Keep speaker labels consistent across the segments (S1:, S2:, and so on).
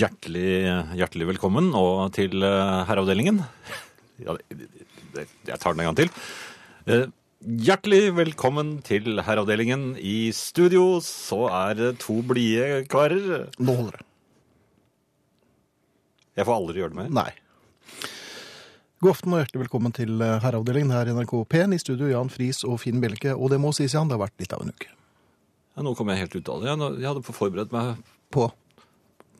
S1: Hjertelig, hjertelig velkommen og til eh, herreavdelingen. Ja, det, det, jeg tar den en gang til. Eh, Hjertelig velkommen til herreavdelingen. I studio så er det to blide karer.
S2: Nå holder det.
S1: Jeg får aldri gjøre det mer.
S2: Nei. God aften og hjertelig velkommen til eh, herreavdelingen her i NRK P1. I studio Jan Friis og Finn Bjelke. Og det må sies, Jan, det har vært litt av en uke.
S1: Ja, nå kom jeg helt ut av det. Jeg, nå- jeg hadde forberedt meg
S2: På,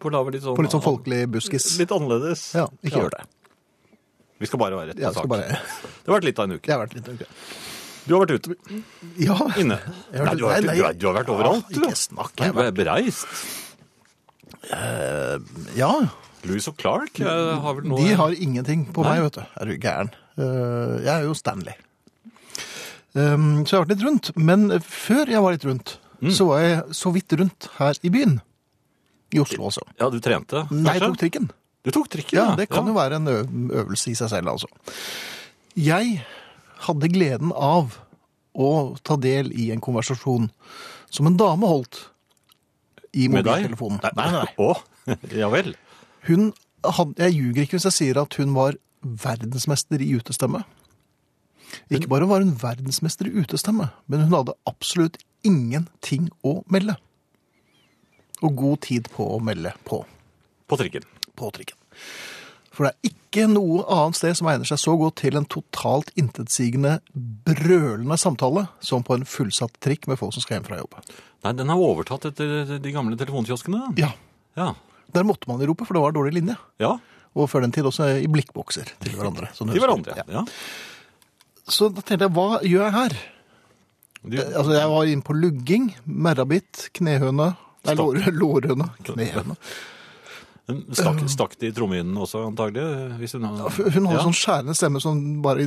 S1: på å lage litt sånn,
S2: på litt sånn folkelig buskis.
S1: Litt annerledes.
S2: Ja, ikke gjør det.
S1: Vi skal bare være rett
S2: Jeg
S1: på
S2: skal
S1: sak.
S2: bare...
S1: Det har vært litt av en
S2: Det
S1: uke.
S2: har vært litt av en uke.
S1: Du har vært ute.
S2: Ja.
S1: Inne.
S2: Jeg har vært-
S1: Nei, du, har, vært-
S2: nei, nei.
S1: Du, har, du har vært overalt,
S2: Ja,
S1: du.
S2: ikke snakk,
S1: Nei,
S2: jeg
S1: Du er bereist.
S2: Ja,
S1: Louis og Clark eh, har vel noe
S2: de har ingenting på
S1: Nei.
S2: meg, vet du. Er du gæren? Eh, Jeg er jo Stanley. Um, Så jeg har vært litt rundt. Men før jeg var litt rundt,
S1: Mm.
S2: så var jeg så vidt rundt her i byen. I Oslo altså. også.
S1: Ja, du trente, kanskje?
S2: Nei, jeg tok trikken.
S1: Du tok trikken,
S2: Ja, det kan jo være en ø- øvelse i seg selv, altså. Jeg hadde gleden av å ta del i en konversasjon som en dame holdt i
S1: Med deg?
S2: mobiltelefonen. Nei, nei, nei.
S1: Å, ja vel.
S2: Hun hadde, jeg ljuger ikke hvis jeg sier at hun var verdensmester i utestemme. Ikke bare var hun verdensmester i utestemme, men hun hadde absolutt ingenting å melde. Og god tid på å melde på
S1: På trikken.
S2: på trikken. For det er ikke noe annet sted som egner seg så godt til en totalt intetsigende, brølende samtale som på en fullsatt trikk med folk som skal hjem fra jobb.
S1: Nei, den har overtatt etter de gamle telefonkioskene.
S2: Ja,
S1: Ja.
S2: Der måtte man jo rope, for det var dårlig linje.
S1: ja.
S2: Og før den tid også i blikkbokser til hverandre. som du
S1: Til
S2: husker.
S1: hverandre.
S2: Ja.
S1: Ja.
S2: Så da tenkte jeg, hva gjør jeg her?
S1: Du,
S2: Eh, Altså, Jeg var inne på lugging, merrabitt, knehøne Nei,
S1: Stopp.
S2: lår, lårhøne. Knehøne.
S1: stakk, stakk de trommehinnen også, antagelig? Hvis hun,
S2: eh, Ja, for Hun har
S1: Ja.
S2: sånn skjærende stemme som bare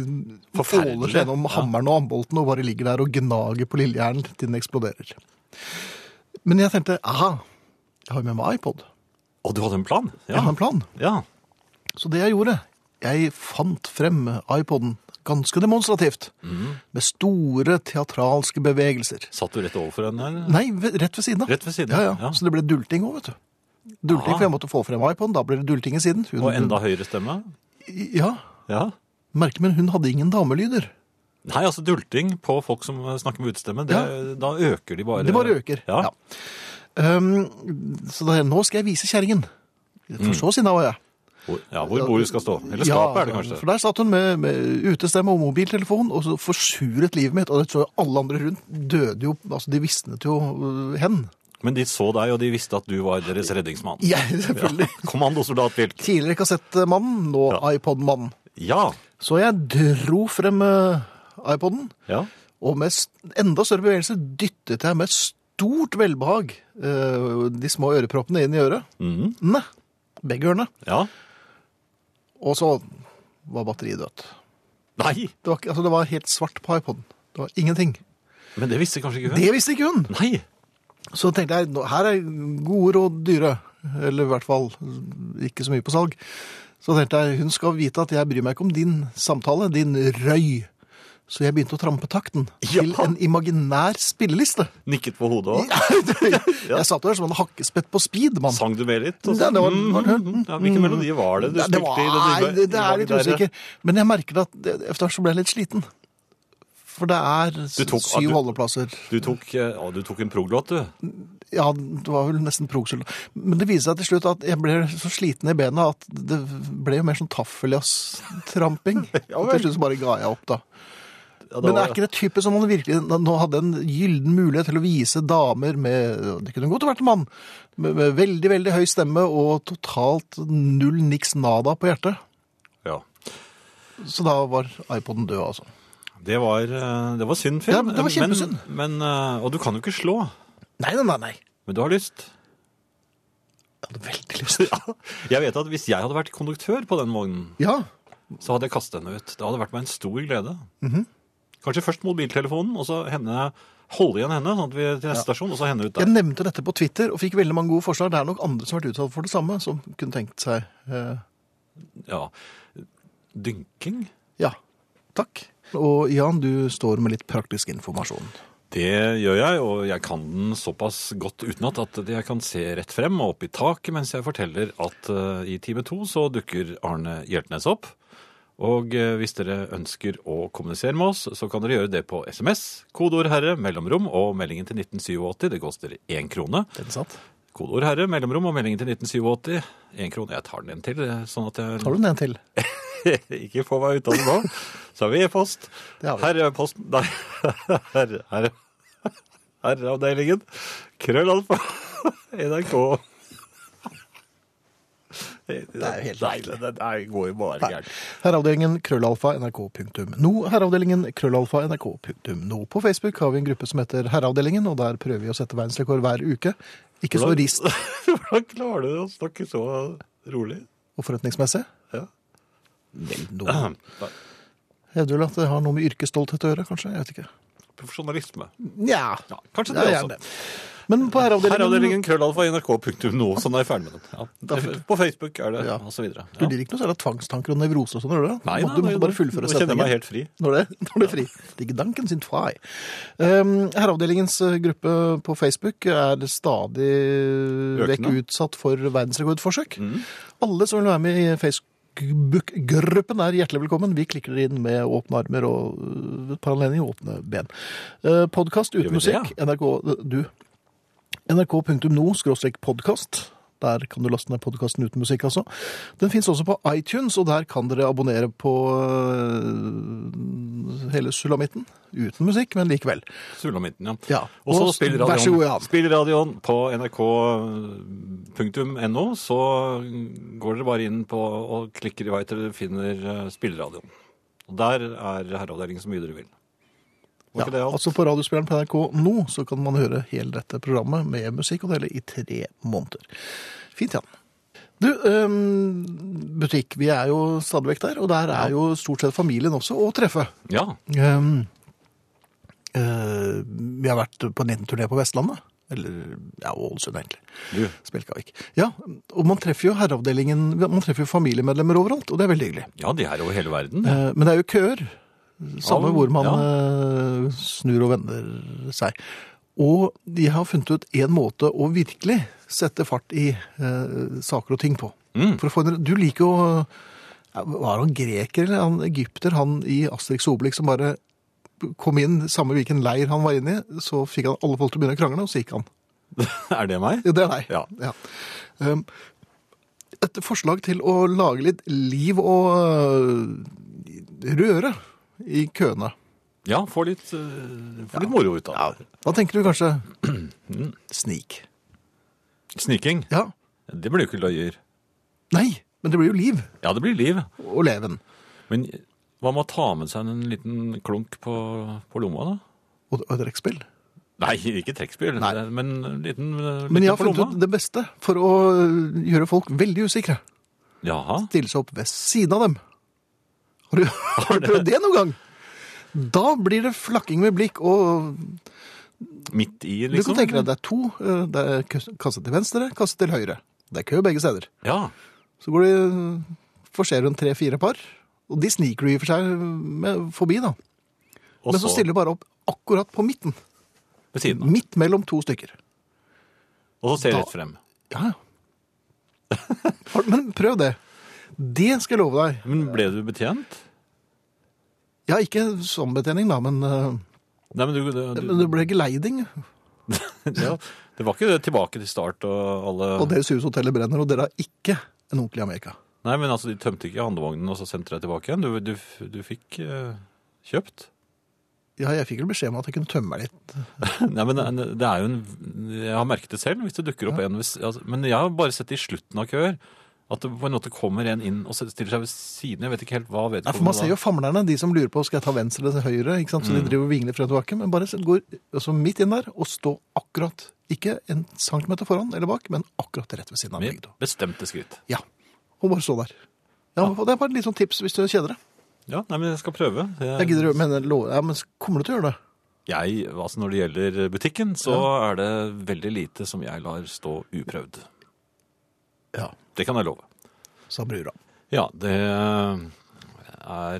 S1: Forferdelig.
S2: åler seg gjennom
S1: Ja.
S2: hammeren og ambolten og bare ligger der og gnager på lillehjernen til den eksploderer. Men jeg tenkte, aha, jeg har jo med meg iPod.
S1: Å, du hadde en plan?
S2: Jeg har en plan.
S1: ja.
S2: Så det jeg gjorde, jeg fant frem iPoden ganske demonstrativt.
S1: Mhm.
S2: Med store teatralske bevegelser.
S1: Satt du rett overfor henne? eller?
S2: Nei, ve- rett ved siden av.
S1: Rett ved siden,
S2: ja, ja.
S1: ja.
S2: Så det ble dulting også, vet du. Dulting,
S1: Ah.
S2: for jeg måtte få frem iPoden, da ble det dulting i siden. Hun-
S1: Og enda høyere stemme?
S2: Ja,
S1: Ja.
S2: merkelig, men hun hadde ingen damelyder.
S1: Nei, altså dulting på folk som snakker med utestemme, det, da øker de bare
S2: Det bare øker.
S1: Ja.
S2: Ja. Um, så da, nå skal jeg vise kjerringen. For så sinna var jeg.
S1: Hvor, ja, hvor bordet skal stå. Mm. Eller skapet er det kanskje.
S2: For der satt hun med, med utestemme og mobiltelefon og så forsuret livet mitt. Og det tror jeg alle andre rundt døde jo Altså, de visnet jo øh, hen.
S1: Men de så deg, og de visste at du var deres redningsmann.
S2: Jeg, selvfølgelig.
S1: Kommandosoldat Wilk.
S2: Tidligere kassettmannen, nå
S1: Ja.
S2: iPod-mannen.
S1: Ja.
S2: Så jeg dro frem øh, iPoden,
S1: ja.
S2: og med s- enda større bevegelse dyttet jeg med stort velbehag øh, de små øreproppene inn i øret.
S1: Mhm.
S2: Nei, begge ørene.
S1: Ja.
S2: Og så var batteriet dødt.
S1: Nei!
S2: Det var, ikke- altså, det var helt svart på iPoden. Det var ingenting.
S1: Men det visste kanskje ikke hun?
S2: Det visste ikke hun!
S1: Nei!
S2: Så tenkte jeg, nå- her er gode råd dyre. Eller i hvert fall ikke så mye på salg. Så tenkte jeg, hun skal vite at jeg bryr meg ikke om din samtale, din røy. Så jeg begynte å trampe takten til
S1: Ja.
S2: en imaginær spilleliste.
S1: Nikket på hodet òg.
S2: Jeg satt der som en hakkespett på speed, mann.
S1: Sang du med litt? og så-
S2: Ja, det var-
S1: Mm,
S2: var det-
S1: mm, ja, hvilken melodi var det du
S2: Nei, det,
S1: spilte
S2: var,
S1: i?
S2: nei,
S1: nye-
S2: det, det er
S1: nye
S2: litt
S1: der?
S2: usikker. Men jeg merker at det- etter hvert så ble jeg litt sliten. For det er s-
S1: Du tok-
S2: syv
S1: du-
S2: holdeplasser.
S1: Du tok, eh, å, du tok en prog-låt, du.
S2: Ja, det var vel nesten progskyld. Men det viser seg til slutt at jeg ble så sliten i bena at det ble jo mer sånn taffeljazz-tramping.
S1: Ja
S2: Og
S1: vel.
S2: til slutt så bare ga jeg opp, da.
S1: Ja, det
S2: Men
S1: var-
S2: er ikke det typisk som man virkelig nå hadde en gyllen mulighet til å vise damer med Det kunne godt vært en mann. Med, med veldig, veldig høy stemme og totalt null niks nada på hjertet.
S1: ja.
S2: Så da var iPoden død, altså.
S1: det var, eh, det var synd, Finn.
S2: Ja, det var kjempesynd.
S1: Men, men, eh, og du kan jo ikke slå.
S2: Nei, nei, nei. nei.
S1: Men du har lyst.
S2: Jeg hadde veldig lyst.
S1: Ja. Jeg vet at Hvis jeg hadde vært konduktør på den vognen,
S2: Ja.
S1: så hadde jeg kastet henne ut. Det hadde vært meg en stor glede. Kanskje først mobiltelefonen, og så henne, holde igjen henne sånn at vi til neste stasjon, og så henne ut der.
S2: Jeg nevnte dette på Twitter og fikk veldig mange gode forslag. Det er nok andre som har vært utsatt for det samme, som kunne tenkt seg eh,
S1: Ja. Dynking?
S2: Ja. Takk. Og Jan, du står med litt praktisk informasjon.
S1: Det gjør jeg, og jeg kan den såpass godt utenat at jeg kan se rett frem og opp i taket mens jeg forteller at eh, i time to så dukker Arne Hjeltnes opp. Og eh, hvis dere ønsker å kommunisere med oss, så kan dere gjøre det på SMS, kodeord 'herre', mellomrom og meldingen til 1987. Det koster én krone.
S2: Ikke sant?
S1: Kodeord 'herre', mellomrom og meldingen til 1987. Én krone. Jeg tar den en til, eh, sånn at jeg
S2: Tar du den en til?
S1: ikke få meg ut av det nå. Så har vi e-post.
S2: Det har vi.
S1: Her er posten Nei, her, her, herreavdelingen. Krøllalfa. NRK. Det
S2: er jo helt
S1: Nei, det, det, det går jo bare
S2: Nei.
S1: gærent.
S2: Herreavdelingen krøllalfa nrk.no. Herreavdelingen krøllalfa nrk.no. På Facebook har vi en gruppe som heter Herreavdelingen, og der prøver vi å sette verdensrekord hver uke. Ikke så
S1: Hvordan-
S2: rist
S1: Hvordan klarer du å snakke så rolig?
S2: og forretningsmessig.
S1: Ja.
S2: Vel, noe. Hevder vel at det har noe med yrkesstolthet å gjøre, kanskje? Jeg vet ikke.
S1: Profesjonalisme.
S2: Nja,
S1: Ja, kanskje
S2: det
S1: det
S2: er
S1: også.
S2: gjerne det. Men på herreavdelingen
S1: Herreavdelingen krøllalfa nrk.no, sånn er jeg ferdig med den.
S2: Da fikk
S1: Ja. På Facebook er det,
S2: Ja.
S1: og så videre.
S2: Du lider ikke noe særlig av tvangstanker og nevrose og sånn, gjør du det?
S1: Nei,
S2: Du
S1: nei,
S2: måtte- du
S1: nei,
S2: måtte
S1: nå-
S2: bare fullføre
S1: Nå kjenner jeg meg
S2: setningen.
S1: helt fri.
S2: Når det, når det er fri. Ligger danken sin fly. Um, herreavdelingens eh, gruppe på Facebook er stadig vekk
S1: Økende.
S2: utsatt for verdensrekordforsøk. Alle som vil være med i Facebook-gruppen er hjertelig velkommen. Vi klikker dere inn med åpne armer og eh, et par anledninger åpne ben. Uh, Podkast
S1: Gjør
S2: uten
S1: vi det,
S2: musikk. NRK Du. nrk.no-podkast. Der kan du laste ned podkasten uten musikk, altså. Den fins også på iTunes, og der kan dere abonnere på øh, hele sulamitten. Uten musikk, men likevel.
S1: Sulamitten, ja.
S2: Ja.
S1: Og så
S2: spill- Vær så
S1: spillradioen
S2: god, Jan.
S1: spill radioen på nrk.no, så går dere bare inn på og klikker i vei til dere finner eh, spillradioen. Og der er herreavdelingen så mye dere vil. Var
S2: Ja,
S1: ikke det alt?
S2: altså På radiospilleren på NRK nå så kan man høre hele dette programmet med musikk og dele i tre måneder. Fint, Jan. Du, øhm, butikk. Vi er jo stadig vekk der, og der er jo stort sett familien også å treffe.
S1: Ja.
S2: Ehm, eh, vi har vært på en liten turné på Vestlandet. Eller ja, Ålesund, egentlig.
S1: Du,
S2: Spjelkavik. Ja, og man treffer jo herreavdelingen Man treffer jo familiemedlemmer overalt, og det er veldig hyggelig.
S1: ja, de er over hele verden.
S2: Eh, Men det er jo køer. Samme
S1: Ja,
S2: hvor man eh, snur og vender seg. Og de har funnet ut én måte å virkelig sette fart i eh, saker og ting på.
S1: Mm.
S2: For å få en, du liker jo ja, Var han greker eller han egypter, han i Asterix og Obelix som bare kom inn samme hvilken leir han var inne i, så fikk han alle folk til å begynne å krangle, og så gikk han.
S1: Er det meg?
S2: Ja, Det er deg.
S1: Ja.
S2: Um, et forslag til å lage litt liv og øh, røre i køene.
S1: Ja, få litt, eh, få litt moro ut av det.
S2: Da tenker du kanskje snik.
S1: Sniking.
S2: Ja.
S1: Det blir jo ikke løyer.
S2: Nei, men det blir jo liv
S1: Ja, det blir liv.
S2: og leven.
S1: Men hva med å ta med seg en liten klunk på, på lomma, da?
S2: Og, og trekkspill.
S1: Nei, ikke trekkspill,
S2: Nei.
S1: det- men en liten, eh, liten
S2: Men jeg har
S1: på
S2: funnet
S1: lomma.
S2: ut det beste for å øh, gjøre folk veldig usikre.
S1: Jaha.
S2: Stille seg opp ved siden av dem. Har du, har du prøvd det noen gang? Da blir det flakking med blikk, og
S1: Midt i,
S2: du
S1: liksom?
S2: kan tenke deg at det er to. øh, Det er kø- kasse til venstre, kasse til høyre. Det er kø begge steder.
S1: Ja.
S2: Så går de, eh, forserer hun tre-fire par, og de sniker du i og for seg eh, med, forbi, da.
S1: Og
S2: Men så stiller du bare opp akkurat på midten.
S1: ved siden av.
S2: Midt mellom to stykker.
S1: Og så ser
S2: Da-
S1: rett frem.
S2: Ja, ja. Har- Men prøv det. Det skal jeg love deg.
S1: Men ble du betjent?
S2: Ja, ikke sånn betjening, da, men, øh,
S1: Nei, men du, du,
S2: men det ble geleiding.
S1: ja, Det var ikke det tilbake til start og alle
S2: Og deres hus hotellet brenner, og dere har ikke en onkel i Amerika.
S1: Nei, men altså, de tømte ikke handlevognen og så sendte deg tilbake igjen. Du, du, du fikk eh, kjøpt.
S2: Ja, jeg fikk vel beskjed om at jeg kunne tømme meg litt.
S1: Nei, men en- det er jo en Jeg har merket det selv hvis det dukker opp en hvis- altså, Men jeg har bare sett det i slutten av køer. At det på en måte kommer en inn og stiller seg ved siden. Jeg vet ikke helt hva
S2: Nei, for Man ser jo
S1: vedkommende
S2: famlerne, de som lurer på skal jeg ta venstre eller høyre. ikke sant? Så De driver og vingler frem og tilbake, men bare går altså, midt inn der og stå akkurat. Ikke en centimeter foran eller bak, men akkurat rett ved siden av. begge
S1: med
S2: to.
S1: bestemte skritt.
S2: Ja, Og bare stå der. Ja, og Det er bare et litt sånn tips hvis du kjeder deg.
S1: Ja, nei, men jeg skal prøve.
S2: Jeg gidder, å- men, lo- ja, men kommer du til å gjøre det?
S1: Jeg, altså Når det gjelder butikken, så er det veldig lite som jeg lar stå uprøvd.
S2: Ja,
S1: Det kan jeg love.
S2: sa brura.
S1: Ja, det er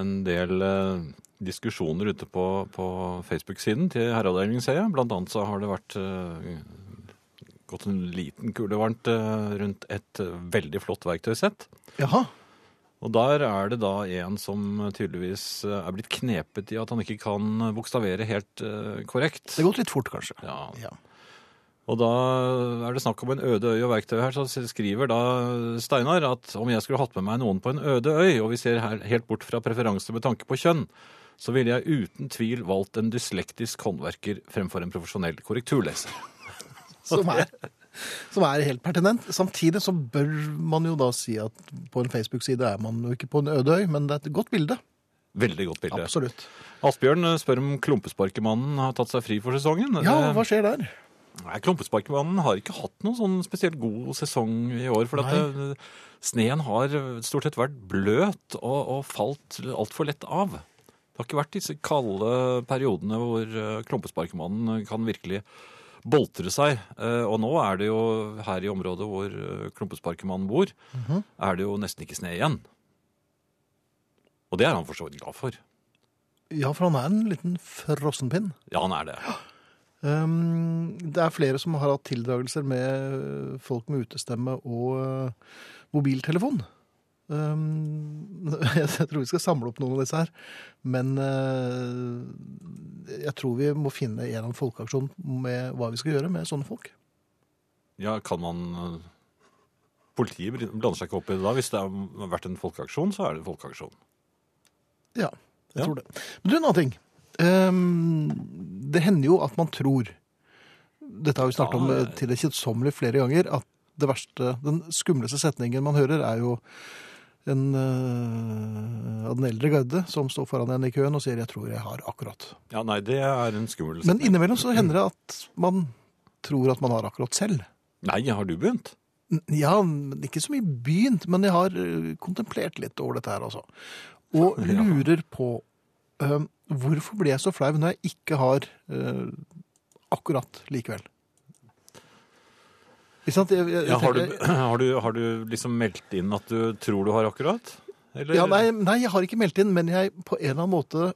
S1: en del eh, diskusjoner ute på, på Facebook-siden til Herreavdelingen, ser jeg. Blant annet så har det vært eh, gått en liten kule varmt eh, rundt et eh, veldig flott verktøysett.
S2: Jaha.
S1: Og der er det da en som tydeligvis eh, er blitt knepet i at han ikke kan bokstavere helt eh, korrekt.
S2: Det har gått litt fort, kanskje.
S1: Ja,
S2: Ja.
S1: og da er det snakk om en øde øy og verktøy her, så skriver da Steinar at om jeg skulle hatt med meg noen på en øde øy, og vi ser her helt bort fra preferanse med tanke på kjønn, så ville jeg uten tvil valgt en dyslektisk håndverker fremfor en profesjonell korrekturleser.
S2: Som, er, som er helt pertinent. Samtidig så bør man jo da si at på en Facebook-side er man jo ikke på en øde øy, men det er et godt bilde.
S1: Veldig godt bilde.
S2: Absolutt.
S1: Asbjørn eh, spør om klumpesparkemannen har tatt seg fri for sesongen. Eh,
S2: Ja,
S1: Det-
S2: hva skjer der?
S1: Nei, Klumpesparkemannen har ikke hatt noen sånn spesielt god sesong i år. For at eh, sneen har stort sett vært bløt og, og falt altfor lett av. Det har ikke vært disse kalde periodene hvor eh, Klumpesparkemannen kan virkelig boltre seg. Eh, Og nå er det jo her i området hvor eh, Klumpesparkemannen bor, er det jo nesten ikke sne igjen. Og det er han for så vidt glad for.
S2: Ja, for han er en liten frossenpinn.
S1: Ja, han er det.
S2: Um, det er flere som har hatt tildragelser med eh, folk med utestemme og uh, mobiltelefon. Um, jeg tror vi skal samle opp noen av disse her, men uh, jeg tror vi må finne en eller annen folkeaksjon med hva vi skal gjøre med sånne folk.
S1: Ja, kan man eh, Politiet bry- blander seg ikke opp i det da. Hvis det har vært en folkeaksjon, så er det en folkeaksjon.
S2: Ja, jeg
S1: Ja.
S2: tror det. Men du, en annen ting. Ehm, det hender jo at man tror, dette har vi snakket
S1: Ja,
S2: om
S1: ja, ja.
S2: eh, til det kjedsommelige flere ganger, at det verste, den skumleste setningen man hører er jo en eh, av den eldre garde som står foran en i køen og sier 'jeg tror jeg har akkurat'.
S1: Ja, nei, det er en skummel
S2: Men
S1: setning.
S2: innimellom så hender det at man tror at man har akkurat selv.
S1: Nei, har du begynt?
S2: N- Ja, men ikke så mye begynt, men jeg har eh, kontemplert litt over dette her, altså. Og
S1: Ja.
S2: lurer på eh, hvorfor blir jeg så flau når jeg ikke har eh, akkurat likevel? Ikke sant? Jeg, jeg, jeg
S1: Ja, har, du,
S2: tenker-
S1: har, du, har du liksom meldt inn at du tror du har akkurat? Eller?
S2: ja, nei, nei, jeg har ikke meldt inn, men jeg på en eller annen måte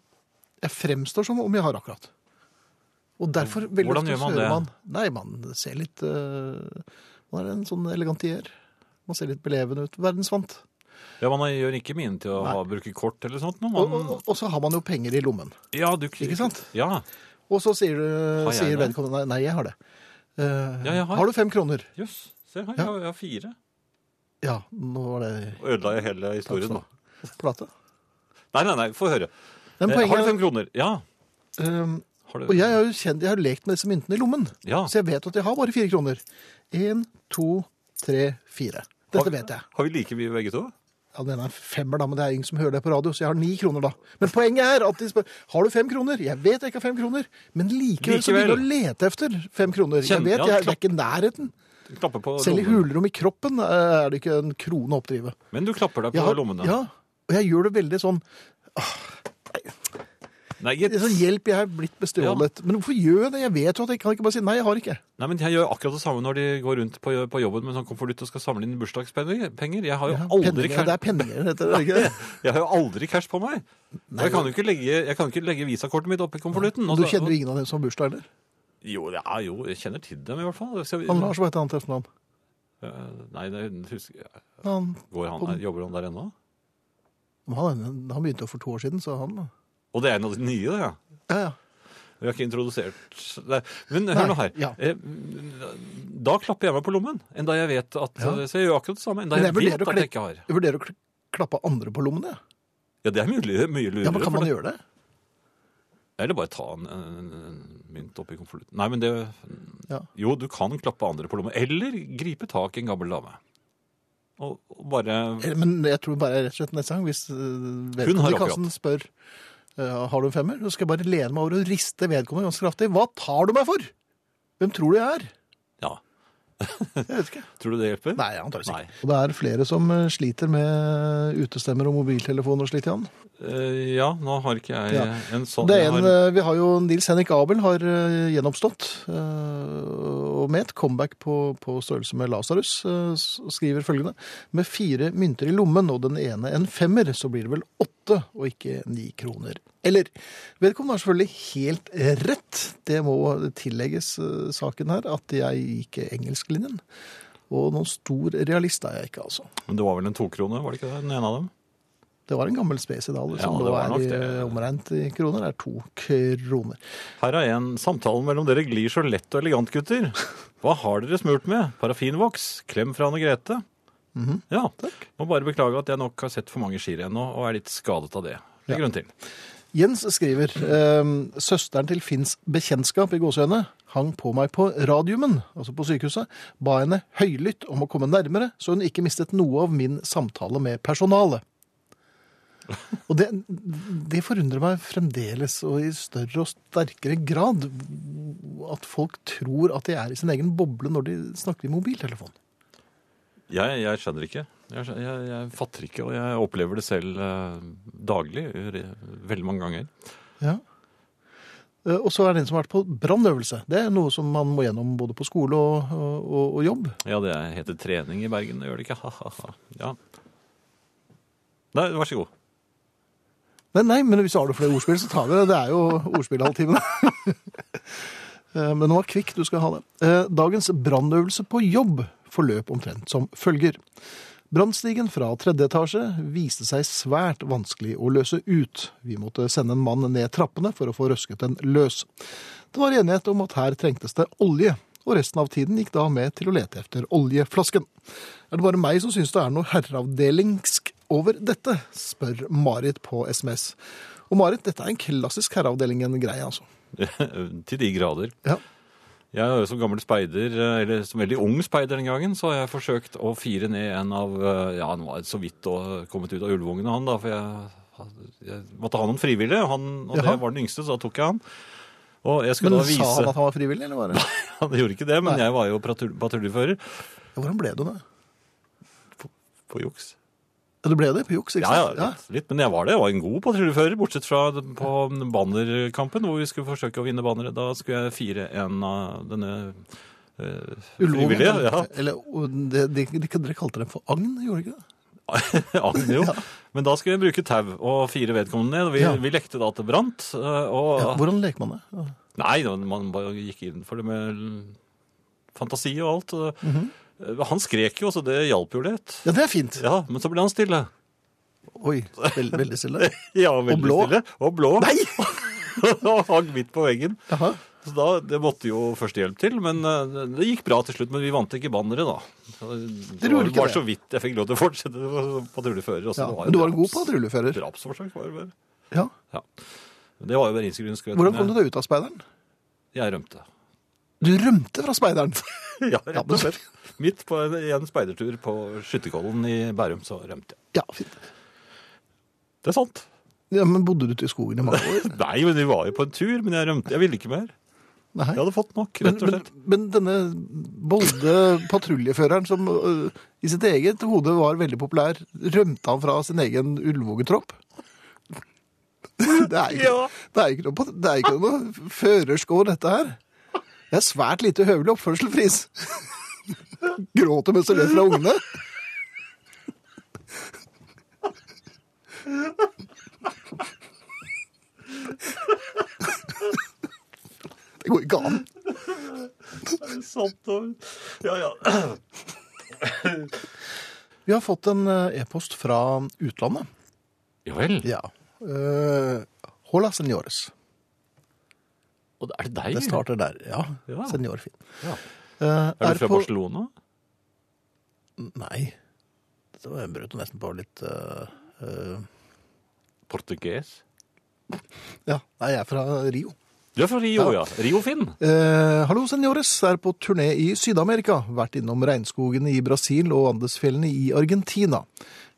S2: jeg fremstår som om jeg har akkurat. Og derfor veldig
S1: Hvordan
S2: ofte
S1: gjør
S2: så
S1: man
S2: hører
S1: det?
S2: nei, man ser litt eh, Man er en sånn elegantier. Man ser litt belevende ut. Verdensvant.
S1: Ja, man gjør ikke mine til å
S2: Nei.
S1: ha, bruke kort eller sånt. noe,
S2: Og,
S1: Man,
S2: og, og så har man jo penger i lommen.
S1: ja, du,
S2: Ikke sant?
S1: Ja,
S2: Og så sier,
S1: Har
S2: du,
S1: jeg
S2: sier
S1: det?
S2: vedkommende nei, nei, jeg har det. Eh,
S1: Ja, jeg har.
S2: har du fem kroner?
S1: jøss. Se her,
S2: Ja.
S1: jeg, har- jeg har fire.
S2: Ja, nå var det
S1: Og ødela jeg hele historien,
S2: skal
S1: da.
S2: plate.
S1: Nei, nei, nei, få høre.
S2: Men
S1: Eh, har du
S2: poenget
S1: fem kroner? Ja.
S2: er eh,
S1: Har du,
S2: Og jeg har jo kjent, jeg har jo lekt med disse myntene i lommen.
S1: ja.
S2: Så jeg vet at jeg har bare fire kroner. Én, to, tre, fire. Dette
S1: Har-
S2: vet jeg.
S1: Har vi like mye begge to?
S2: Ja, Den er en femmer, da, men det er ingen som hører det på radio, så jeg har ni kroner, da. Men poenget er at de spør har du fem kroner. Jeg vet jeg ikke har fem kroner, men likevel, så
S1: Likevel.
S2: begynner jeg å lete etter fem kroner.
S1: Kjenn-
S2: Jeg vet
S1: ja,
S2: jeg, det
S1: klapp.
S2: er ikke i nærheten.
S1: Klapper på
S2: Selv i
S1: lommen.
S2: hulrom i kroppen eh, er det ikke en krone å oppdrive.
S1: Men du klapper deg
S2: Jeg
S1: på
S2: har-
S1: lommene.
S2: Ja, og jeg gjør det veldig sånn
S1: Nei, gitt.
S2: det er sånn, Hjelp, jeg er blitt bestjålet. Men hvorfor gjør jeg det? Jeg vet jo at jeg kan ikke bare si nei, jeg har ikke.
S1: Nei, men Jeg gjør akkurat det samme når de går rundt på, på jobben med sånn konvolutt og skal samle inn bursdagspenger. Penger. Jeg har jo
S2: Ja,
S1: aldri,
S2: penninger,
S1: cash-
S2: det er penninger, heter det ikke?
S1: jeg har jo aldri cash på meg. Og jeg kan jo ikke legge, jeg kan ikke legge visakortet mitt oppi konvolutten. og
S2: Du
S1: så-
S2: kjenner jo ingen av dem som har bursdag, eller?
S1: Jo, ja, jo, jeg kjenner til dem i hvert fall. Skal vi-
S2: Han Lars var et annet etternavn.
S1: Eh, Nei, det husker jeg.
S2: Han,
S1: Går han, nei, jobber han der ennå?
S2: han, han begynte jo for to år siden, så han
S1: Og det er en av de nye, det. ja.
S2: Ja, ja.
S1: Vi har ikke introdusert Nei, Men
S2: Nei,
S1: hør nå her.
S2: ja.
S1: Eh, Da klapper jeg meg på lommen. Enda jeg vet at
S2: Ja.
S1: Så jeg gjør akkurat det samme. Enda jeg,
S2: Men jeg vurderer
S1: vet
S2: å
S1: at jeg ikke har.
S2: Jeg vurderer å kl- klappe andre på lommene. jeg.
S1: Ja, det er mye, mye lurere.
S2: Ja, men kan
S1: for
S2: man
S1: det-
S2: gjøre det?
S1: Eller bare ta en, en, en mynt oppi konvolutten. Nei, men det
S2: Ja.
S1: Jo, du kan klappe andre på lommen. Eller gripe tak i en gammel dame. Og, og bare
S2: Eller, Eh, Men jeg tror bare rett og slett neste gang, hvis øh,
S1: har
S2: vedkommende i
S1: akkurat.
S2: kassen spør øh, har du en femmer, så skal jeg bare lene meg over og riste vedkommende ganske kraftig. Hva tar du meg for? Hvem tror du jeg er?
S1: Ja.
S2: Jeg vet ikke.
S1: Tror du det hjelper?
S2: Nei, antakeligvis
S1: Nei.
S2: ikke. Og det er flere som øh, sliter med utestemmer og mobiltelefon og slikt igjen.
S1: Eh, ja, nå har ikke jeg
S2: Ja.
S1: en sånn
S2: Det er
S1: jeg
S2: en,
S1: har,
S2: eh, vi har jo Nils Henrik Abel har eh, gjenoppstått. eh, og med et comeback på, på størrelse med Lasarus, eh, skriver følgende. Med fire mynter i lommen og den ene en femmer, så blir det vel åtte og ikke ni kroner. Eller Vedkommende har selvfølgelig helt rett, det må tillegges eh, saken her, at jeg gikk engelsklinjen. Og noen stor realist er jeg ikke, altså.
S1: Men det var vel en tokrone, var det ikke det? Den ene av dem?
S2: Det var en gammel spesidal som
S1: Ja, det
S2: nå
S1: var
S2: er
S1: nok
S2: i- eh,
S1: det.
S2: omregnet i kroner, er to kroner.
S1: Her er en samtale mellom dere glir så lett og elegant, gutter. Hva har dere smurt med? Parafinvoks? Klem fra Anne Grete?
S2: Mhm.
S1: Ja, takk. Må bare beklage at jeg nok har sett for mange skirenn nå, og er litt skadet av det. Det er grunn til.
S2: Jens skriver ehm, Søsteren til Finns bekjentskap i gåsøgne hang på meg på radiumen, altså på sykehuset, ba henne høylytt om å komme nærmere, så hun ikke mistet noe av min samtale med personalet. Og det, det forundrer meg fremdeles, og i større og sterkere grad, at folk tror at de er i sin egen boble når de snakker i mobiltelefon.
S1: Jeg, jeg skjønner ikke. Jeg, skjø- jeg, jeg fatter ikke, og jeg opplever det selv eh, daglig, re- veldig mange ganger.
S2: Ja. Eh, Og så er det en som har vært på brannøvelse. Det er noe som man må gjennom både på skole og, og, og jobb.
S1: Ja, det heter trening i Bergen, det gjør det ikke. Ha, ha, ha. Ja. Nei, vær så god.
S2: Nei, nei, men hvis du har noen flere ordspill, så tar vi det. Det er jo ordspillhalvtimen. Eh, men nå var kvikk, du skal ha det. Eh, Dagens brannøvelse på jobb forløp omtrent som følger. Brannstigen fra tredje etasje viste seg svært vanskelig å løse ut. Vi måtte sende en mann ned trappene for å få røsket den løs. Det var enighet om at her trengtes det olje, og resten av tiden gikk da med til å lete efter oljeflasken. Er det bare meg som syns det er noe herreavdelingsk over dette? spør Marit på SMS. Og Marit, dette er en klassisk herreavdelingen-greie, altså.
S1: Til de grader.
S2: Ja.
S1: Jeg har jo som gammel speider, eh, eller som veldig ung speider den gangen, så har jeg forsøkt å fire ned en av eh, Ja, han var så vidt og kommet ut av ulvungen, han, da, for jeg, jeg måtte ha noen frivillige. og Han, og
S2: Jaha.
S1: det var den yngste, så da tok jeg han. Og jeg skulle
S2: Men
S1: da
S2: sa
S1: vise
S2: han at han var frivillig, eller bare?
S1: Han gjorde ikke det, men
S2: Nei.
S1: jeg var jo patrul- patruljefører.
S2: Hvordan ble du det?
S1: På juks.
S2: Ja, du ble det på juks, ikke
S1: Ja, ja,
S2: sant?
S1: litt, litt, men jeg var det. Jeg var en god patruljefører, bortsett fra på bannerkampen, hvor vi skulle forsøke å vinne bannere. Da skulle jeg fire en av denne eh,
S2: Ulvungen,
S1: frivillige.
S2: eller-
S1: Ja,
S2: Eller, og de, de, de, dere kalte dem for agn, gjorde dere ikke det?
S1: Agn, jo. Men da skulle jeg bruke tau og fire vedkommende ned. og Vi,
S2: Ja.
S1: vi lekte da at det brant. eh, Og,
S2: Ja, hvordan leker man det? Ja.
S1: Nei, da, man bare gikk inn for det med fantasi og alt.
S2: Mhm.
S1: Eh, Han skrek jo, så det hjalp jo litt.
S2: Ja, det er fint.
S1: Ja, men så ble han stille.
S2: Oi, veld, veldig stille.
S1: Ja, veldig
S2: blå.
S1: Stille. Og blå. Nei! og hang midt på veggen.
S2: Jaha.
S1: Så da, Det måtte jo førstehjelp til, men eh, det gikk bra til slutt. Men vi vant ikke banneret, da. Det,
S2: Dere
S1: var,
S2: gjorde ikke
S1: var
S2: det.
S1: så vidt jeg fikk lov til å altså, fortsette på- på trullefører.
S2: Ja, men du var en god patruljefører.
S1: Drapsforsøk var det vel.
S2: Ja.
S1: Ja. Det var jo berlinskgrunnskrøten.
S2: Hvordan kom du deg ut av speideren?
S1: Jeg rømte.
S2: Du rømte fra speideren.
S1: Ja,
S2: Ja,
S1: rett
S2: men-
S1: og slett. Midt på en, i en speidertur på Skytterkollen i Bærum, så rømte jeg.
S2: Ja, fint.
S1: Det er sant.
S2: Ja, men bodde du ute i skogen i mange år?
S1: Nei, men vi var jo på en tur, men jeg rømte. Jeg ville ikke mer.
S2: Nei.
S1: Jeg hadde fått nok,
S2: Men,
S1: rett og
S2: men,
S1: slett.
S2: men denne bolde patruljeføreren som øh, i sitt eget hode var veldig populær, rømte han fra sin egen ulvungetropp? Det er ikke,
S1: Ja.
S2: det er ikke, noe, pat- det er ikke noe førersk over dette her. Det er svært lite høvelig oppførsel, Friis. Gråter mens du løper fra ungene. Det går ikke an.
S1: Sant, og- ja, ja.
S2: Vi har fått en eh, e-post fra utlandet.
S1: ja vel.
S2: Ja. Eh, hola, senores.
S1: Og er det deg?
S2: Det starter der, ja.
S1: Ja.
S2: Seniorfin.
S1: Ja.
S2: Eh,
S1: Er du fra
S2: på-
S1: Barcelona?
S2: Nei. Det var jeg brøt nesten på litt eh, eh,
S1: Portuges?
S2: Ja, nei, jeg er fra Rio.
S1: Du er fra Rio, ja. Rio-Finn.
S2: Eh, hallo, senores. Er på turné i Syd-Amerika. Vært innom regnskogene i Brasil og Andesfjellene i Argentina.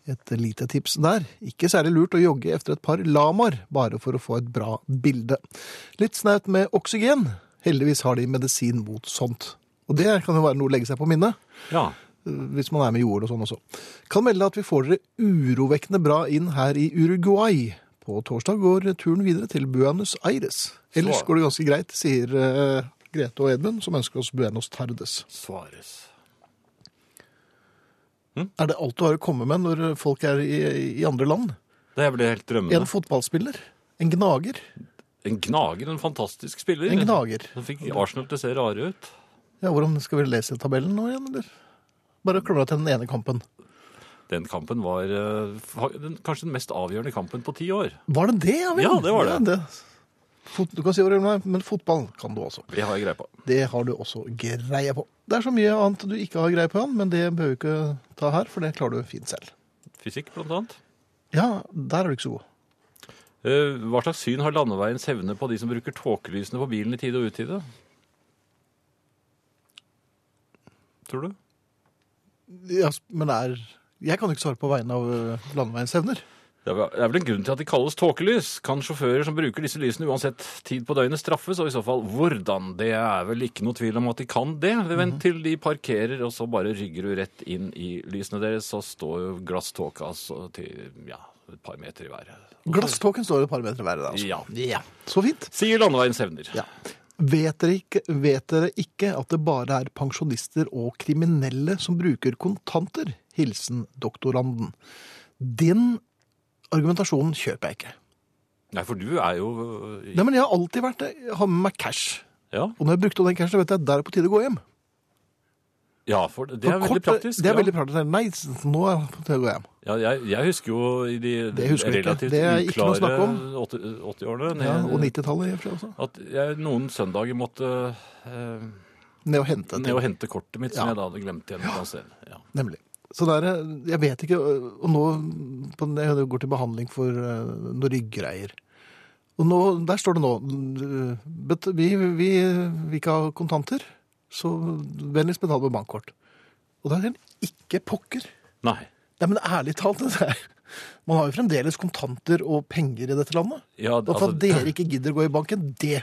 S2: Et lite tips der. Ikke særlig lurt å jogge efter et par lamaer, bare for å få et bra bilde. Litt snaut med oksygen. Heldigvis har de medisin mot sånt. Og det kan jo være noe å legge seg på minnet.
S1: Ja.
S2: eh, hvis man er med jord og sånn også. Kan melde at vi får dere urovekkende bra inn her i Uruguay. På torsdag går turen videre til Buenos Aires. Ellers
S1: Så.
S2: går det ganske greit, sier eh, Grete og Edmund, som ønsker oss buenos tardes.
S1: Svares.
S2: Er det alt du har å komme med når folk er i, i andre land?
S1: Det ble helt drømmende.
S2: En fotballspiller? En gnager?
S1: En gnager, en fantastisk spiller.
S2: En gnager.
S1: Den fikk Arsenal til å se rare ut.
S2: Ja, hvordan skal vi lese tabellen nå igjen, eller? Bare klamre til den ene kampen.
S1: Den kampen var eh, fa- den, kanskje den mest avgjørende kampen på ti år.
S2: Var det det, ja vel?
S1: Ja, det var det.
S2: Fot, du kan si hva du vil, med, men fotball kan du også.
S1: Det har jeg greie på.
S2: Det har du også greie på. Det er så mye annet du ikke har greie på, Jan, men det behøver du ikke ta her, for det klarer du fint selv.
S1: Fysikk, blant annet.
S2: Ja, der er du ikke så god.
S1: Eh, Hva slags syn har landeveiens hevne på de som bruker tåkelysene på bilen i tide og utide? Tror du?
S2: Ja, men det er... Jeg kan jo ikke svare på vegne av ø, landeveiens evner.
S1: Det er vel- det er vel en grunn til at de kalles tåkelys. Kan sjåfører som bruker disse lysene uansett tid på døgnet straffes, og i så fall hvordan? Det er vel ikke noe tvil om at de kan det.
S2: Mhm.
S1: Vent til de parkerer, og så bare rygger du rett inn i lysene deres, så står jo glasståka altså, til ja, et par meter i været.
S2: Glasståken står et par meter verre der, altså.
S1: Ja.
S2: Så fint.
S1: Sier landeveiens evner.
S2: Ja. Vet dere, ikke, vet dere ikke at det bare er pensjonister og kriminelle som bruker kontanter? Hilsen doktoranden. Den argumentasjonen kjøper jeg ikke.
S1: Nei, for du er jo
S2: Nei, men jeg har alltid vært det. Jeg har med meg cash.
S1: Ja,
S2: Og når jeg brukte opp den cashen, vet jeg at der er på tide å gå hjem.
S1: ja for det er
S2: For
S1: veldig
S2: kort- eh,
S1: praktisk.
S2: Det er
S1: ja.
S2: veldig praktisk. Nei, s- nå er det på tide å gå hjem.
S1: Ja, jeg, jeg husker jo i de
S2: Det husker du ikke.
S1: relativt
S2: Det er ikke noe å snakke
S1: uklare
S2: om.
S1: 80- 80-årene
S2: Ja,
S1: ned-
S2: og 90-tallet i og for seg også.
S1: at jeg noen søndager måtte eh,
S2: Ned og hente.
S1: ned
S2: Til.
S1: og hente kortet mitt, som
S2: Ja.
S1: jeg da hadde glemt igjen. et annet sted. Ja.
S2: Nemlig. Så der, eh, jeg vet ikke, og og nå på, den- jeg går til behandling for eh, noen ryggreier. Og nå, der står det nå, eh, bet- vi vi vil ikke ha kontanter, så vennligst betal med bankkort. Og da er det ikke pokker.
S1: Nei.
S2: Nei, men ærlig talt, det er, man har jo fremdeles kontanter og penger i dette landet.
S1: Ja,
S2: Og for
S1: altså,
S2: at dere ikke gidder gå i banken, det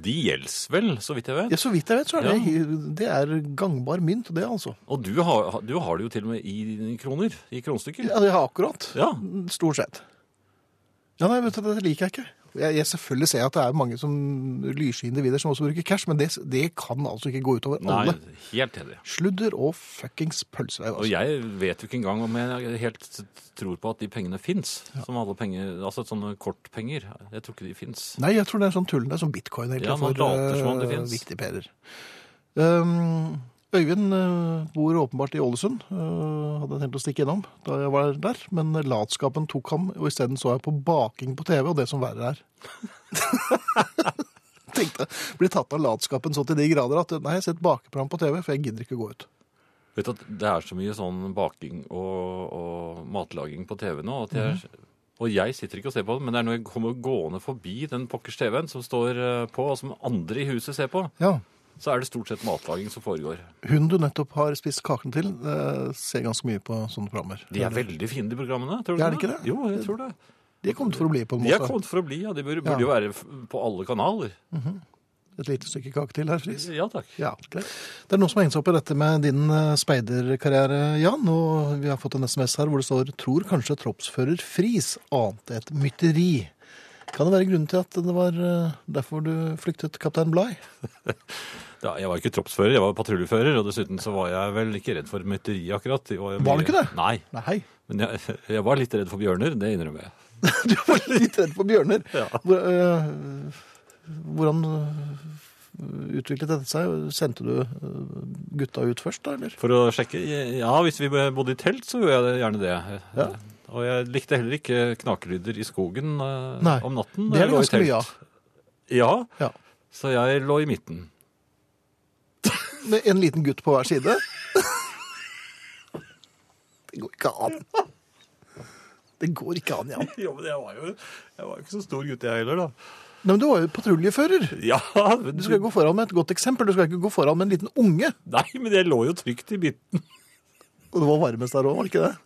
S1: De gjelds vel, så vidt jeg vet.
S2: ja, Så vidt jeg vet, så er det,
S1: Ja.
S2: det er gangbar mynt, det altså.
S1: Og du har, du har det jo til og med i kroner. I kronestykker.
S2: Ja, det er akkurat.
S1: Ja.
S2: Stort sett. Ja, nei, vet du, det liker jeg ikke. Jeg, jeg selvfølgelig ser at det er mange som lyse individer som også bruker cash, men det, det kan altså ikke gå utover
S1: Nei,
S2: alle.
S1: helt enig.
S2: Sludder og fuckings pølsevev.
S1: Og
S2: Altså.
S1: jeg vet jo ikke engang om jeg helt tror på at de pengene fins. Som alle penger, altså sånne kortpenger. Jeg tror ikke de fins.
S2: Nei, jeg tror det er sånn tullende som bitcoin egentlig
S1: Ja, man
S2: for
S1: later som om det
S2: eh,
S1: finnes.
S2: viktigperer. Um, Øyvind eh, bor åpenbart i Ålesund. Eh, hadde jeg tenkt å stikke innom da jeg var der, men latskapen tok ham, og isteden så jeg på baking på TV, og det som verre er. Tenkte, Blir tatt av latskapen så til de grader at nei, jeg har sett bakeprogram på TV, for jeg gidder ikke gå ut.
S1: Vet du at Det er så mye sånn baking og, og matlaging på TV nå. At jeg,
S2: Mhm.
S1: Og jeg sitter ikke og ser på det, men det er når jeg kommer gående forbi den pokkers TV-en som står eh, på, og som andre i huset ser på,
S2: Ja,
S1: så er det stort sett matlaging som foregår.
S2: Hun du nettopp har spist kaken til, eh, ser ganske mye på sånne programmer.
S1: De er veldig fine, de programmene. tror du
S2: Ja, er det ikke det?
S1: Jo, jeg tror det.
S2: De er kommet for å bli på en
S1: De er
S2: måte.
S1: kommet for å bli, ja. De burde, burde jo være f- på alle kanaler.
S2: Et lite stykke kake til her, Friis.
S1: Ja takk.
S2: Ja, greit. Det er noen som har hengt seg opp i dette med din eh, speiderkarriere, Jan. Og vi har fått en SMS her hvor det står 'tror kanskje troppsfører Friis ante et mytteri'. Kan det være grunnen til at det var eh, derfor du flyktet kaptein Blay?
S1: Ja, jeg var ikke troppsfører, jeg var patruljefører. Og dessuten så var jeg vel ikke redd for mytteri, akkurat. Det
S2: Var du ikke det?
S1: Nei.
S2: Nei.
S1: Men jeg, jeg var litt redd for bjørner, det innrømmer jeg.
S2: Du var litt redd for bjørner.
S1: Ja.
S2: Hvor, eh, hvordan eh, utviklet dette seg? Sendte du eh, gutta ut først, da, eller?
S1: For å sjekke? Ja, hvis vi bodde i telt, så gjorde jeg gjerne det.
S2: Ja.
S1: Og jeg likte heller ikke knakelyder i skogen eh,
S2: Nei,
S1: om natten. når
S2: Det er
S1: jeg
S2: det
S1: lå i
S2: ganske
S1: telt.
S2: mye av.
S1: Ja,
S2: Ja.
S1: så jeg lå i midten.
S2: Med en liten gutt på hver side. Det går ikke an. Det går ikke an, Jan.
S1: Jo, men jeg var jo, ikke så stor gutt jeg heller, da.
S2: Nei, men du var jo patruljefører.
S1: Ja, men
S2: Du skal jo gå foran med et godt eksempel. Du skal ikke gå foran med en liten unge.
S1: Nei, men jeg lå jo trygt i midten,
S2: Og det var varmest der òg, var det ikke det?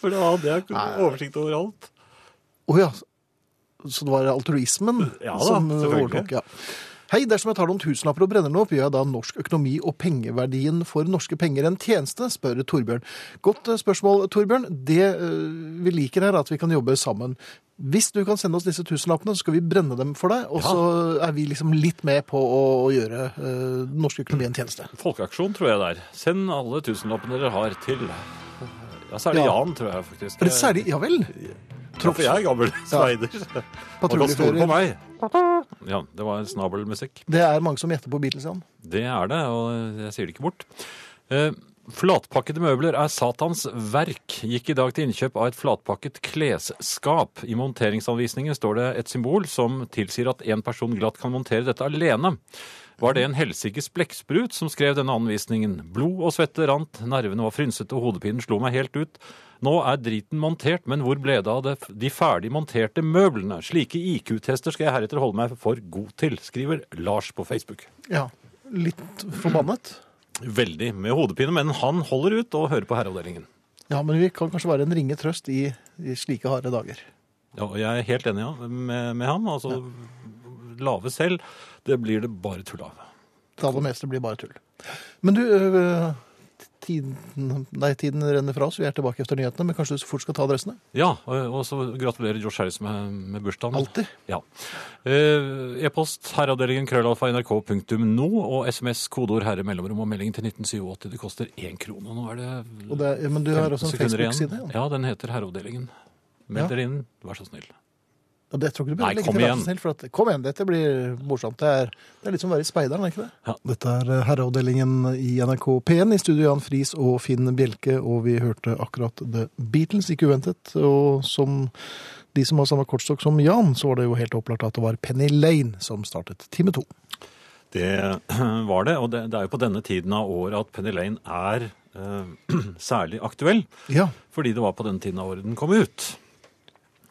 S1: for da hadde jeg oversikt over alt.
S2: Å ja. Så det var altruismen
S1: Ja da,
S2: som
S1: selvfølgelig.
S2: overtok, ja. Hei, dersom jeg tar noen tusenlapper og brenner den opp, gjør jeg da norsk økonomi og pengeverdien for norske penger en tjeneste, spør Torbjørn. Godt eh, spørsmål, Torbjørn. Det eh, vi liker her, er at vi kan jobbe sammen. Hvis du kan sende oss disse tusenlappene, så skal vi brenne dem for deg, og
S1: Ja.
S2: så er vi liksom litt med på å, å gjøre eh, den norsk økonomi en tjeneste.
S1: Folkeaksjon, tror jeg det er. Send alle tusenlappene dere har til Ja, så er det
S2: Ja.
S1: Jan, tror jeg faktisk.
S2: Er det særlig Ja vel.
S1: Eh, Ja, for jeg er gammel sveider. Man kan stole på
S2: Patruljefører.
S1: meg. Ja, det var snabelmusikk.
S2: Det er mange som gjetter på Beatles, Jan.
S1: Det er det, og jeg sier det ikke bort. Eh, Flatpakkede møbler er Satans verk. Gikk i dag til innkjøp av et flatpakket klesskap. I monteringsanvisningen står det et symbol som tilsier at én person glatt kan montere dette alene. Var det en helsikes blekksprut som skrev denne anvisningen? Blod og svette rant, nervene var frynsete og hodepinen slo meg helt ut. Nå er driten montert, men hvor ble det av det- de ferdig monterte møblene? Slike IQ-tester skal jeg heretter holde meg for god til, skriver Lars på Facebook.
S2: Ja. Litt forbannet.
S1: Veldig med hodepine, men han holder ut og hører på herreavdelingen.
S2: Ja, men vi kan kanskje være en ringe trøst i, i slike harde dager.
S1: Ja, og jeg er helt enig ja, med, med ham. Altså, lave selv, det blir det bare tull av.
S2: Det aller meste blir bare tull. Men du, øh, tiden, nei, tiden renner fra oss. Vi er tilbake efter nyhetene, men kanskje du fort skal ta adressene?
S1: Ja, og og så gratulerer Josh Harris med, med bursdagen.
S2: Alltid.
S1: Ja. Eh, E-post herreavdelingen krøllalfa nrk.no og SMS kodeord herre mellomrom og melding til 1987. Det koster én krone. Nå er det
S2: Og det, er- men du har
S1: 15
S2: også en
S1: sekunder igjen.
S2: Facebook-side? Ja.
S1: Ja, den heter Herreavdelingen. Meld
S2: Ja.
S1: dere inn, vær så snill.
S2: Og det tror jeg ikke du
S1: Nei,
S2: behøver legge
S1: kom
S2: til, vær
S1: igjen.
S2: så snill. For at, kom igjen, dette blir morsomt. Det er, det er litt som å være i speideren, er ikke det?
S1: Ja.
S2: Dette er eh, herreavdelingen i NRK P1, i studio Jan Friis og Finn Bjelke, og vi hørte akkurat The Beatles, ikke uventet. Og som de som har samme kortstokk som Jan, så var det jo helt opplagt at det var Penny Lane som startet time to.
S1: Det var det, og det, det er jo på denne tiden av året at Penny Lane er eh, særlig aktuell.
S2: Ja.
S1: Fordi det var på denne tiden av året den kom ut.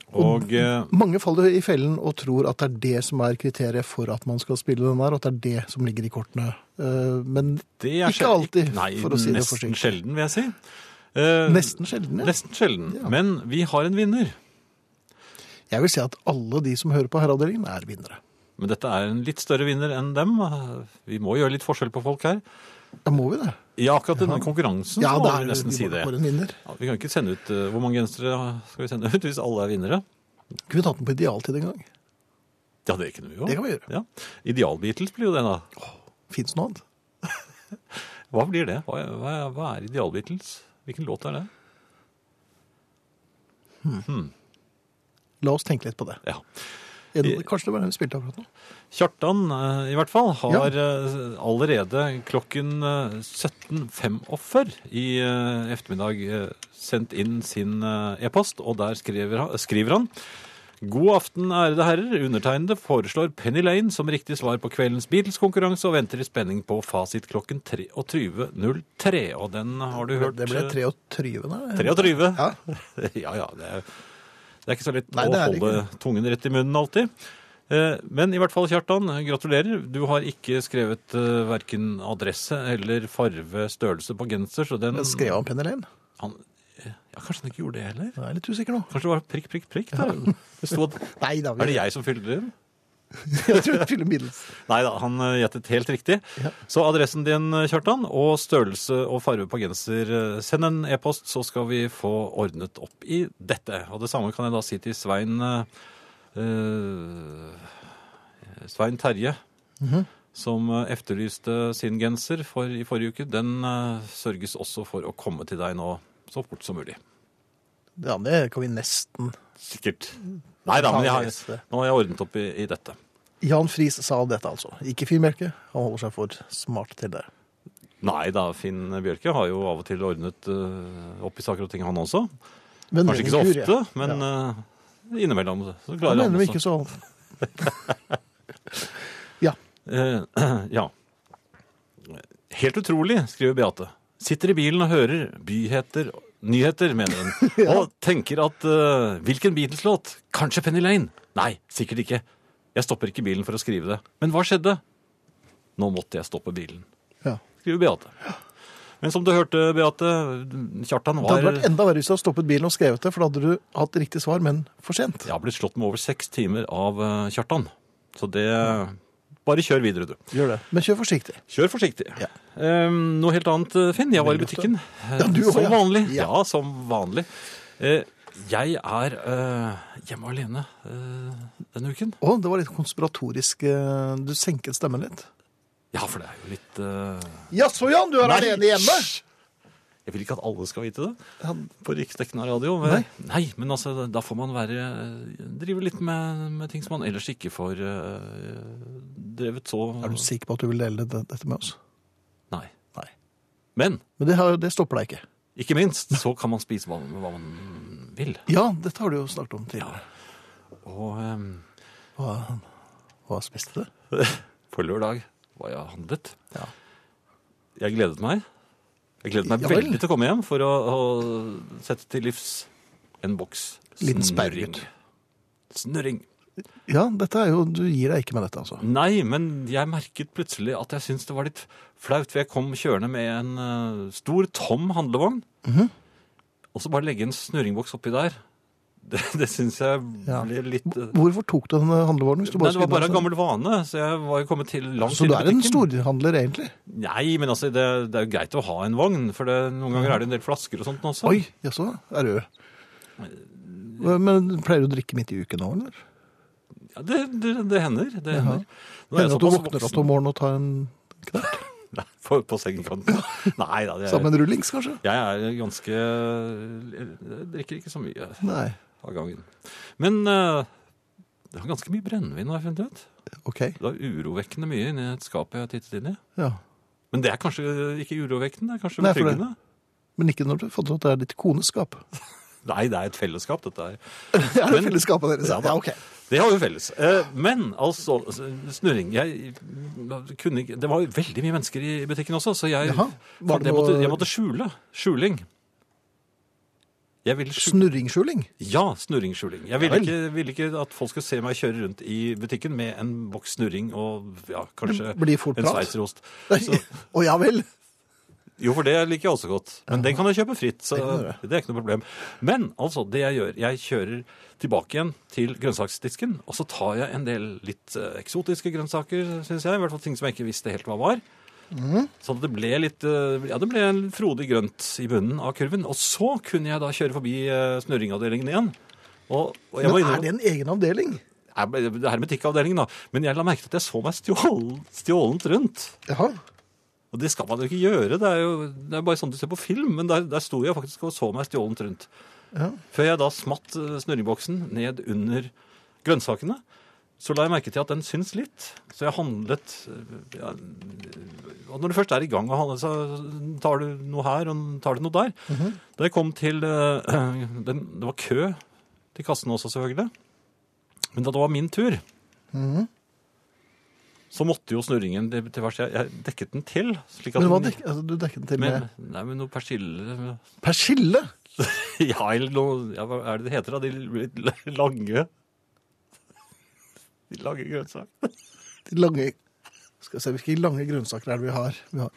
S1: Og eh,
S2: Mange faller i fellen og tror at det er det som er kriteriet for at man skal spille den her, og at det er det som ligger i kortene. Eh, Men
S1: det er
S2: ikke
S1: sjel-
S2: alltid,
S1: Nei,
S2: for å si det
S1: nesten
S2: forsiktig.
S1: sjelden, vil jeg si. Eh,
S2: Nesten sjelden, ja.
S1: Nesten sjelden.
S2: Ja.
S1: Men vi har en vinner.
S2: Jeg vil si at alle de som hører på Herreavdelingen, er vinnere.
S1: Men dette er en litt større vinner enn dem. Vi må gjøre litt forskjell på folk her.
S2: Da må vi det.
S1: I akkurat denne konkurransen så må
S2: det er-
S1: vi nesten
S2: vi
S1: si
S2: må
S1: det.
S2: bare en vinner.
S1: Ja, vi kan ikke sende ut eh, Hvor mange gensere skal vi sende ut hvis alle er vinnere?
S2: Kunne vi tatt den på idealtid en gang?
S1: Ja, det kunne vi jo.
S2: Det kan vi gjøre.
S1: Ja. Ideal-Beatles blir jo det, da.
S2: Fins noe annet?
S1: Hva blir det? Hva, hva, hva er Ideal Beatles? Hvilken låt er det?
S2: La oss tenke litt på det.
S1: Ja.
S2: Er det kanskje det var den vi spilte akkurat nå?
S1: Kjartan, eh, i hvert fall, har eh, allerede klokken eh, 17.45 i eh, ettermiddag eh, sendt inn sin eh, e-post, og der skriver han, skriver han God aften, ærede herrer. Undertegnede foreslår Penny Lane som riktig svar på kveldens Beatles-konkurranse og venter i spenning på fasit klokken 23.03. Og den har du hørt eh,
S2: Det ble 23. der.
S1: 23.
S2: Ja.
S1: ja, ja. Det er, det er ikke så lett
S2: Nei,
S1: å
S2: det er
S1: holde tungen rett i munnen alltid. Eh, Men i hvert fall, Kjartan, gratulerer. Du har ikke skrevet eh, verken adresse eller farve, størrelse på genser, så den
S2: Jeg Skrev han Penny Lane?
S1: han, Ja, kanskje han ikke gjorde det heller?
S2: Jeg er litt usikker nå.
S1: Kanskje det var prikk, prikk, prikk? Der. Det stod,
S2: Nei da, vi-
S1: er det jeg som fyller inn?
S2: jeg tror det fyller middels.
S1: Nei da, han eh, gjettet helt riktig.
S2: Ja.
S1: Så adressen din, eh, Kjartan, og størrelse og farve på genser, eh, send en e-post, så skal vi få ordnet opp i dette. Og det samme kan jeg da si til Svein eh, eh, Svein Terje. Som eh, efterlyste sin genser for, i forrige uke. Den eh, sørges også for å komme til deg nå så fort som mulig.
S2: Ja, det kan vi nesten
S1: Sikkert. Nei da, men jeg har,
S2: Neste.
S1: nå har jeg ordnet opp i, i dette.
S2: Jan Friis sa dette, altså. Ikke finmelke. Han holder seg for smart til det.
S1: Nei da, Finn Bjørke har jo av og til ordnet eh, opp i saker og ting, han også.
S2: Men
S1: Kanskje ikke så
S2: Vennekur,
S1: ofte,
S2: ja.
S1: men
S2: ja.
S1: eh, innimellom så
S2: Da
S1: klarer han
S2: mener vi
S1: også.
S2: ikke så Ja.
S1: Eh, ja. Helt utrolig, skriver Beate. Sitter i bilen og hører byheter, nyheter, mener hun. Og tenker at eh, hvilken Beatles-låt? Kanskje Penny Lane? Nei, sikkert ikke. Jeg stopper ikke bilen for å skrive det. Men hva skjedde? Nå måtte jeg stoppe bilen,
S2: ja.
S1: skriver Beate. Men som du hørte, Beate, Kjartan
S2: Det
S1: var
S2: hadde vært enda verre hvis du hadde stoppet bilen og skrevet det, for da hadde du hatt riktig svar, men for sent.
S1: Jeg har blitt slått med over seks timer av eh, Kjartan. Så det Bare kjør videre, du.
S3: Gjør det.
S2: Men kjør forsiktig.
S1: Kjør forsiktig.
S2: Ja.
S1: Ehm, noe helt annet, Finn. Jeg var i butikken. Eh,
S2: du også,
S1: som
S2: ja.
S1: vanlig.
S2: Ja.
S1: Ja, som vanlig. Eh, jeg er eh, hjemme alene eh, denne uken.
S2: Å, det var litt konspiratorisk. eh, Du senket stemmen litt.
S1: Ja, for det er jo litt eh,
S2: Jaså, Jan, du er
S1: Nei,
S2: alene hjemme?
S1: Jeg vil ikke at alle skal vite det
S2: Ja,
S1: på riksdekkende radio. men-
S2: Nei.
S1: Nei, men altså, da får man være Drive litt med, med ting som man ellers ikke får eh, drevet så
S2: Er du sikker på at du vil dele det- dette med oss?
S1: Nei.
S2: Nei.
S1: Men
S2: Men det, har, det stopper deg ikke.
S1: ikke minst så kan man spise hva, hva man vil.
S2: Ja, dette har du jo snakket om tidligere.
S1: Og ehm,
S2: Hva, hva spiste du?
S1: på lørdag var jeg og handlet.
S2: Ja.
S1: Jeg gledet meg. Jeg gledet meg
S2: Ja vel.
S1: veldig til å komme hjem for å, å sette til livs en boks
S2: Liten
S1: snørring.
S2: sperregutt.
S1: Snørring.
S2: Ja, dette er jo Du gir deg ikke med dette, altså.
S1: Nei, men jeg merket plutselig at jeg syntes det var litt flaut, for jeg kom kjørende med en eh, stor, tom handlevogn.
S2: Mhm.
S1: Og så bare legge en snørringboks oppi der. Det, det syns jeg
S2: Ja.
S1: ble litt eh,
S2: Hvorfor tok du den handlevognen? Hvis du
S1: Nei,
S2: bare
S1: det var
S2: skulle
S1: bare av
S2: inn og
S1: gammel vane, så jeg var jo kommet til langt
S2: se?
S1: inn
S2: Så du
S1: i
S2: er en
S1: butikken.
S2: storhandler, egentlig?
S1: Nei, men altså, det, det er jo greit å ha en vogn, for det, noen ganger er det en del flasker og sånt også.
S2: Oi, jaså? Er du Men pleier du å drikke midt i uken nå, eller?
S1: Ja, det, det, det hender. Det hender. Nå er jeg
S2: Hender at du
S1: såpass
S2: våkner
S1: voksen.
S2: opp om morgenen og tar en knert?
S1: Nei, på, på sengekanten. Nei da, jeg,
S2: Sammen med en rullings, kanskje?
S1: jeg er ganske Jeg drikker ikke så mye
S2: Nei.
S1: av gangen. Men eh, det er ganske mye brennevin, har jeg funnet ut.
S2: OK.
S1: Det er urovekkende mye inni et skap jeg har tittet inn i.
S2: Ja.
S1: Men det er kanskje ikke urovekkende, det er kanskje
S2: Nei, for det-
S1: betryggende.
S2: Men ikke når du fant ut at det er ditt koneskap.
S1: Nei, det er et fellesskap, dette her.
S2: Det er det
S1: Men-
S2: fellesskapet deres. Ja, ok.
S1: Det har vi felles. Eh, Men altså, snurring jeg, kunne, ikke- Det var jo veldig mye mennesker i butikken også, så jeg,
S2: Jaha. Var det
S1: jeg, måtte,
S2: noe-
S1: jeg måtte skjule. Skjuling. Jeg ville skjule.
S2: Snurringskjuling?
S1: Ja, snurringskjuling. Jeg ville
S2: Ja vel.
S1: ikke, ville ikke at folk skulle se meg kjøre rundt i butikken med en boks snurring og ja, kanskje
S2: Blir fort
S1: en
S2: prat?
S1: sveitserost.
S2: Å
S1: Så-
S2: ja vel.
S1: Jo, for det liker jeg også godt. Men den kan jeg kjøpe fritt, så
S2: Det kan du gjøre.
S1: det er ikke noe problem. Men altså, det jeg gjør, jeg kjører tilbake igjen til grønnsaksdisken, og så tar jeg en del litt eh, eksotiske grønnsaker, syns jeg. I hvert fall ting som jeg ikke visste helt hva var.
S2: Mhm.
S1: Sånn at det ble litt eh, Ja, det ble en frodig grønt i bunnen av kurven. Og så kunne jeg da kjøre forbi eh, snurringavdelingen igjen. Og, og jeg må
S2: Men er
S1: innrømme
S2: det en egen avdeling?
S1: Nei, men det er Hermetikkavdelingen, da. Men jeg la merke til at jeg så meg stjål- stjålent rundt.
S2: Jaha.
S1: Og det skal man jo ikke gjøre. Det er jo det er bare sånn du ser på film. Men der, der sto jeg faktisk og så meg stjålent rundt.
S2: Ja.
S1: Før jeg da smatt eh, snurringboksen ned under grønnsakene, så la jeg merke til at den syns litt. Så jeg handlet eh, ja, Og når du først er i gang og handler, så tar du noe her og tar du noe der.
S2: Mhm.
S1: Da jeg kom til eh, den, Det var kø til kassen også, selvfølgelig. Men da det var min tur,
S2: Mhm.
S1: så måtte jo snurringen det- til vers jeg, jeg dekket den til. Slik at
S2: Men hva
S1: den-
S2: dek, altså, du dekket den til
S1: med,
S2: med
S1: nei, med noe persille med-
S2: persille?
S1: Ja, eller noe ja, Hva er det det heter, da? De litt lange De lange grønnsakene.
S2: De lange Skal vi se hvilke lange grønnsaker er det vi har. Vi har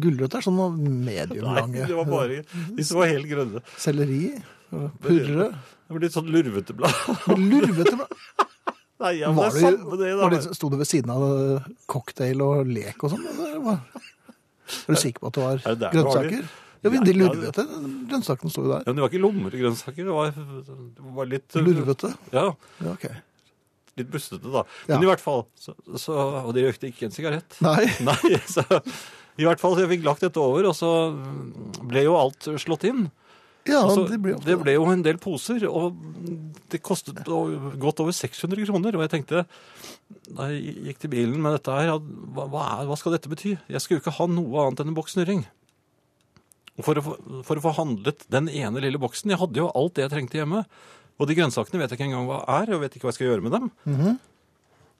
S2: Gulrøtter er sånn
S1: Nei, det var
S2: mediumlange.
S1: bare de som var helt grønne.
S2: Selleri. Purre.
S1: Det var litt sånn lurvete blad.
S2: Lurvete blad.
S1: Nei, ja, men det er
S2: Var det,
S1: samme det, da.
S2: var det, sto det ved siden av eh, cocktail og lek og sånn? eller hva? Er du sikker på at det
S1: Er
S2: var
S1: det der det var de?
S2: grønnsaker? Ja, men
S1: Nei,
S2: De
S1: ja,
S2: lurvete grønnsakene sto jo
S1: Ja,
S2: der.
S1: men det var ikke lommegrønnsaker. Det var, det var litt
S2: Lurvete?
S1: Ja,
S2: Ja, ok.
S1: litt bustete, da.
S2: Ja.
S1: Men i hvert fall så, så, Og de røykte ikke en sigarett.
S2: Nei.
S1: Nei, så i hvert fall så jeg fikk lagt dette over, og så mm, ble jo alt slått inn.
S2: Ja,
S1: Altså,
S2: de blir ofte
S1: det ble jo en del poser, og det kostet o- godt over 600 kroner. Og jeg tenkte, da jeg gikk til bilen med dette her, at hva, hva, er, hva skal dette bety? Jeg skulle jo ikke ha noe annet enn en boks snurring. Og for å, få- for å få handlet den ene lille boksen, jeg hadde jo alt det jeg trengte hjemme. Og de grønnsakene vet jeg ikke engang hva er, og jeg vet ikke hva jeg skal gjøre med dem.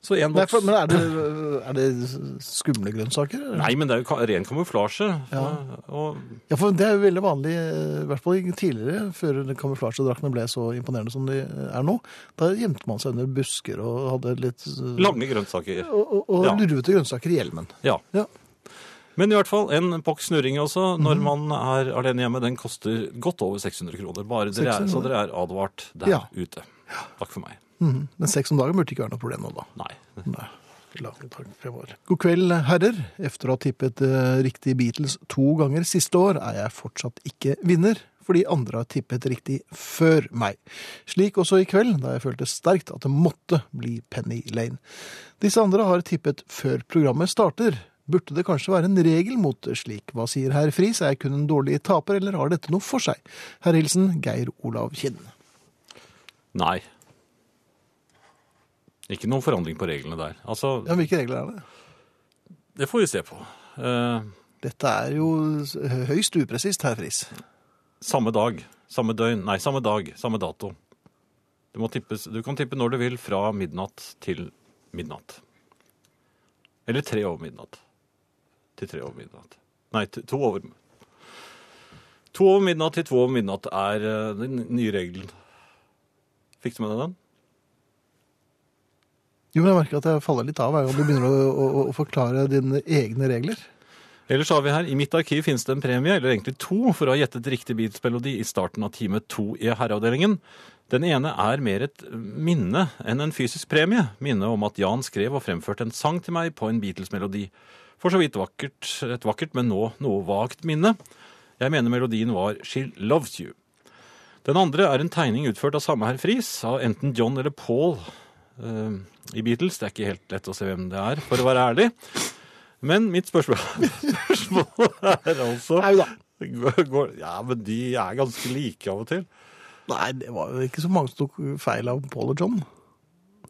S1: Så en
S2: Mhm. Nei,
S1: boks...
S2: for, Men er det, er det skumle grønnsaker? eller?
S1: Nei, men det er jo ka- ren kamuflasje.
S2: Ja.
S1: Og,
S2: Ja, for Det er jo veldig vanlig, eh, i hvert fall tidligere, før kamuflasjedraktene ble så imponerende som de er nå. Da gjemte man seg under busker og hadde litt eh,
S1: lange grønnsaker.
S2: Og, og, og
S1: Ja.
S2: lurvete grønnsaker i hjelmen.
S1: Ja.
S2: Ja.
S1: Men i hvert fall, en boks snurring også,
S2: Mhm.
S1: når man er alene hjemme, den koster godt over 600 kroner. Bare dere er,
S2: 600.
S1: så dere er advart der
S2: Ja.
S1: ute. Takk for meg.
S2: Mhm. Men seks om dagen burde ikke være noe problem nå, da.
S1: Nei.
S2: Nei. lange dagen fremover. God kveld, herrer. Efter å ha tippet eh, riktig Beatles to ganger siste år, er jeg fortsatt ikke vinner, fordi andre har tippet riktig før meg. Slik også i kveld, da jeg følte sterkt at det måtte bli Penny Lane. Disse andre har tippet før programmet starter. Burde det kanskje være en regel mot slik? Hva sier herr Friis? Er jeg kun en dårlig taper, eller har dette noe for seg? Herr Hilsen Geir Olav Kinn.
S1: Nei. Ikke noen forandring på reglene der. Altså,
S2: Ja, hvilke regler er det?
S1: det får vi se på. Eh,
S2: Dette er jo høyst upresist, herr Friis.
S1: samme dag, samme døgn, nei, samme dag, samme dato. Du, må tippes, du kan tippe når du vil fra midnatt til midnatt. Eller tre over midnatt. Til tre over midnatt. Nei, til to over To over midnatt til to over midnatt er eh, den nye regelen. Fikk du med deg den?
S2: Jo, men jeg merker at jeg faller litt av hver gang du begynner å, å, å forklare dine egne regler.
S1: Ellers har vi her, i mitt arkiv finnes det en premie, eller egentlig to, for å ha gjettet riktig Beatles-melodi i starten av time to i herreavdelingen. Den ene er mer et minne enn en fysisk premie. Minne om at Jan skrev og fremførte en sang til meg på en Beatles-melodi. For så vidt vakkert, et vakkert, men nå noe vagt minne. Jeg mener melodien var She Loves You. Den andre er en tegning utført av samme herr Friis, av enten John eller Paul eh, i Beatles. Det er ikke helt lett å se hvem det er, for å være ærlig. Men mitt spørsmål, spørsmål er altså
S2: Nei da.
S1: går, går, Ja, men de er ganske like av og til.
S2: Nei, det var jo ikke så mange som tok feil av Paul og John.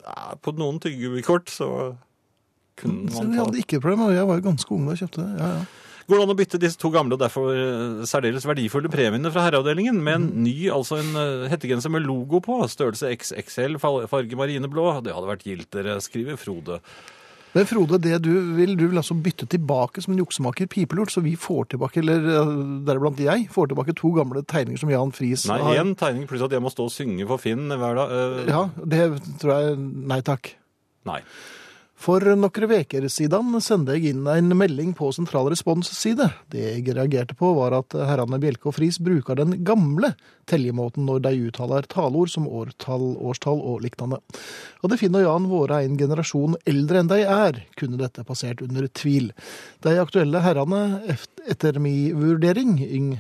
S1: Ja, på noen tyggegummikort så kunne
S2: Mm, Så
S1: man
S2: de
S1: ta
S2: hadde ikke problem, og jeg var jo ganske ung da jeg kjøpte det. Ja, ja.
S1: Går det an å bytte disse to gamle og derfor eh, særdeles verdifulle premiene fra herreavdelingen med
S2: Mm.
S1: en ny, altså en eh, hettegenser med logo på, størrelse XXL, fal- farge marineblå? Det hadde vært giltere, skriver Frode.
S2: Men Frode, det du vil, du vil altså bytte tilbake som en juksemaker pipelort, så vi får tilbake, eller eh, deriblant jeg, får tilbake to gamle tegninger som Jan Friis
S1: Nei,
S2: har.
S1: én tegning pluss at jeg må stå og synge for Finn hver dag. eh,
S2: Ja, det tror jeg Nei takk.
S1: Nei.
S2: For noen veker siden sendte jeg inn en melding på sentral responsside. Det jeg reagerte på var at herrene Bjelke og Friis bruker den gamle teljemåten når de uttaler taleord som årtall, årstall og lignende. Hadde Finn og Jan vært en generasjon eldre enn de er, kunne dette passert under tvil. De aktuelle herrene, eft- etter mi vurdering, yng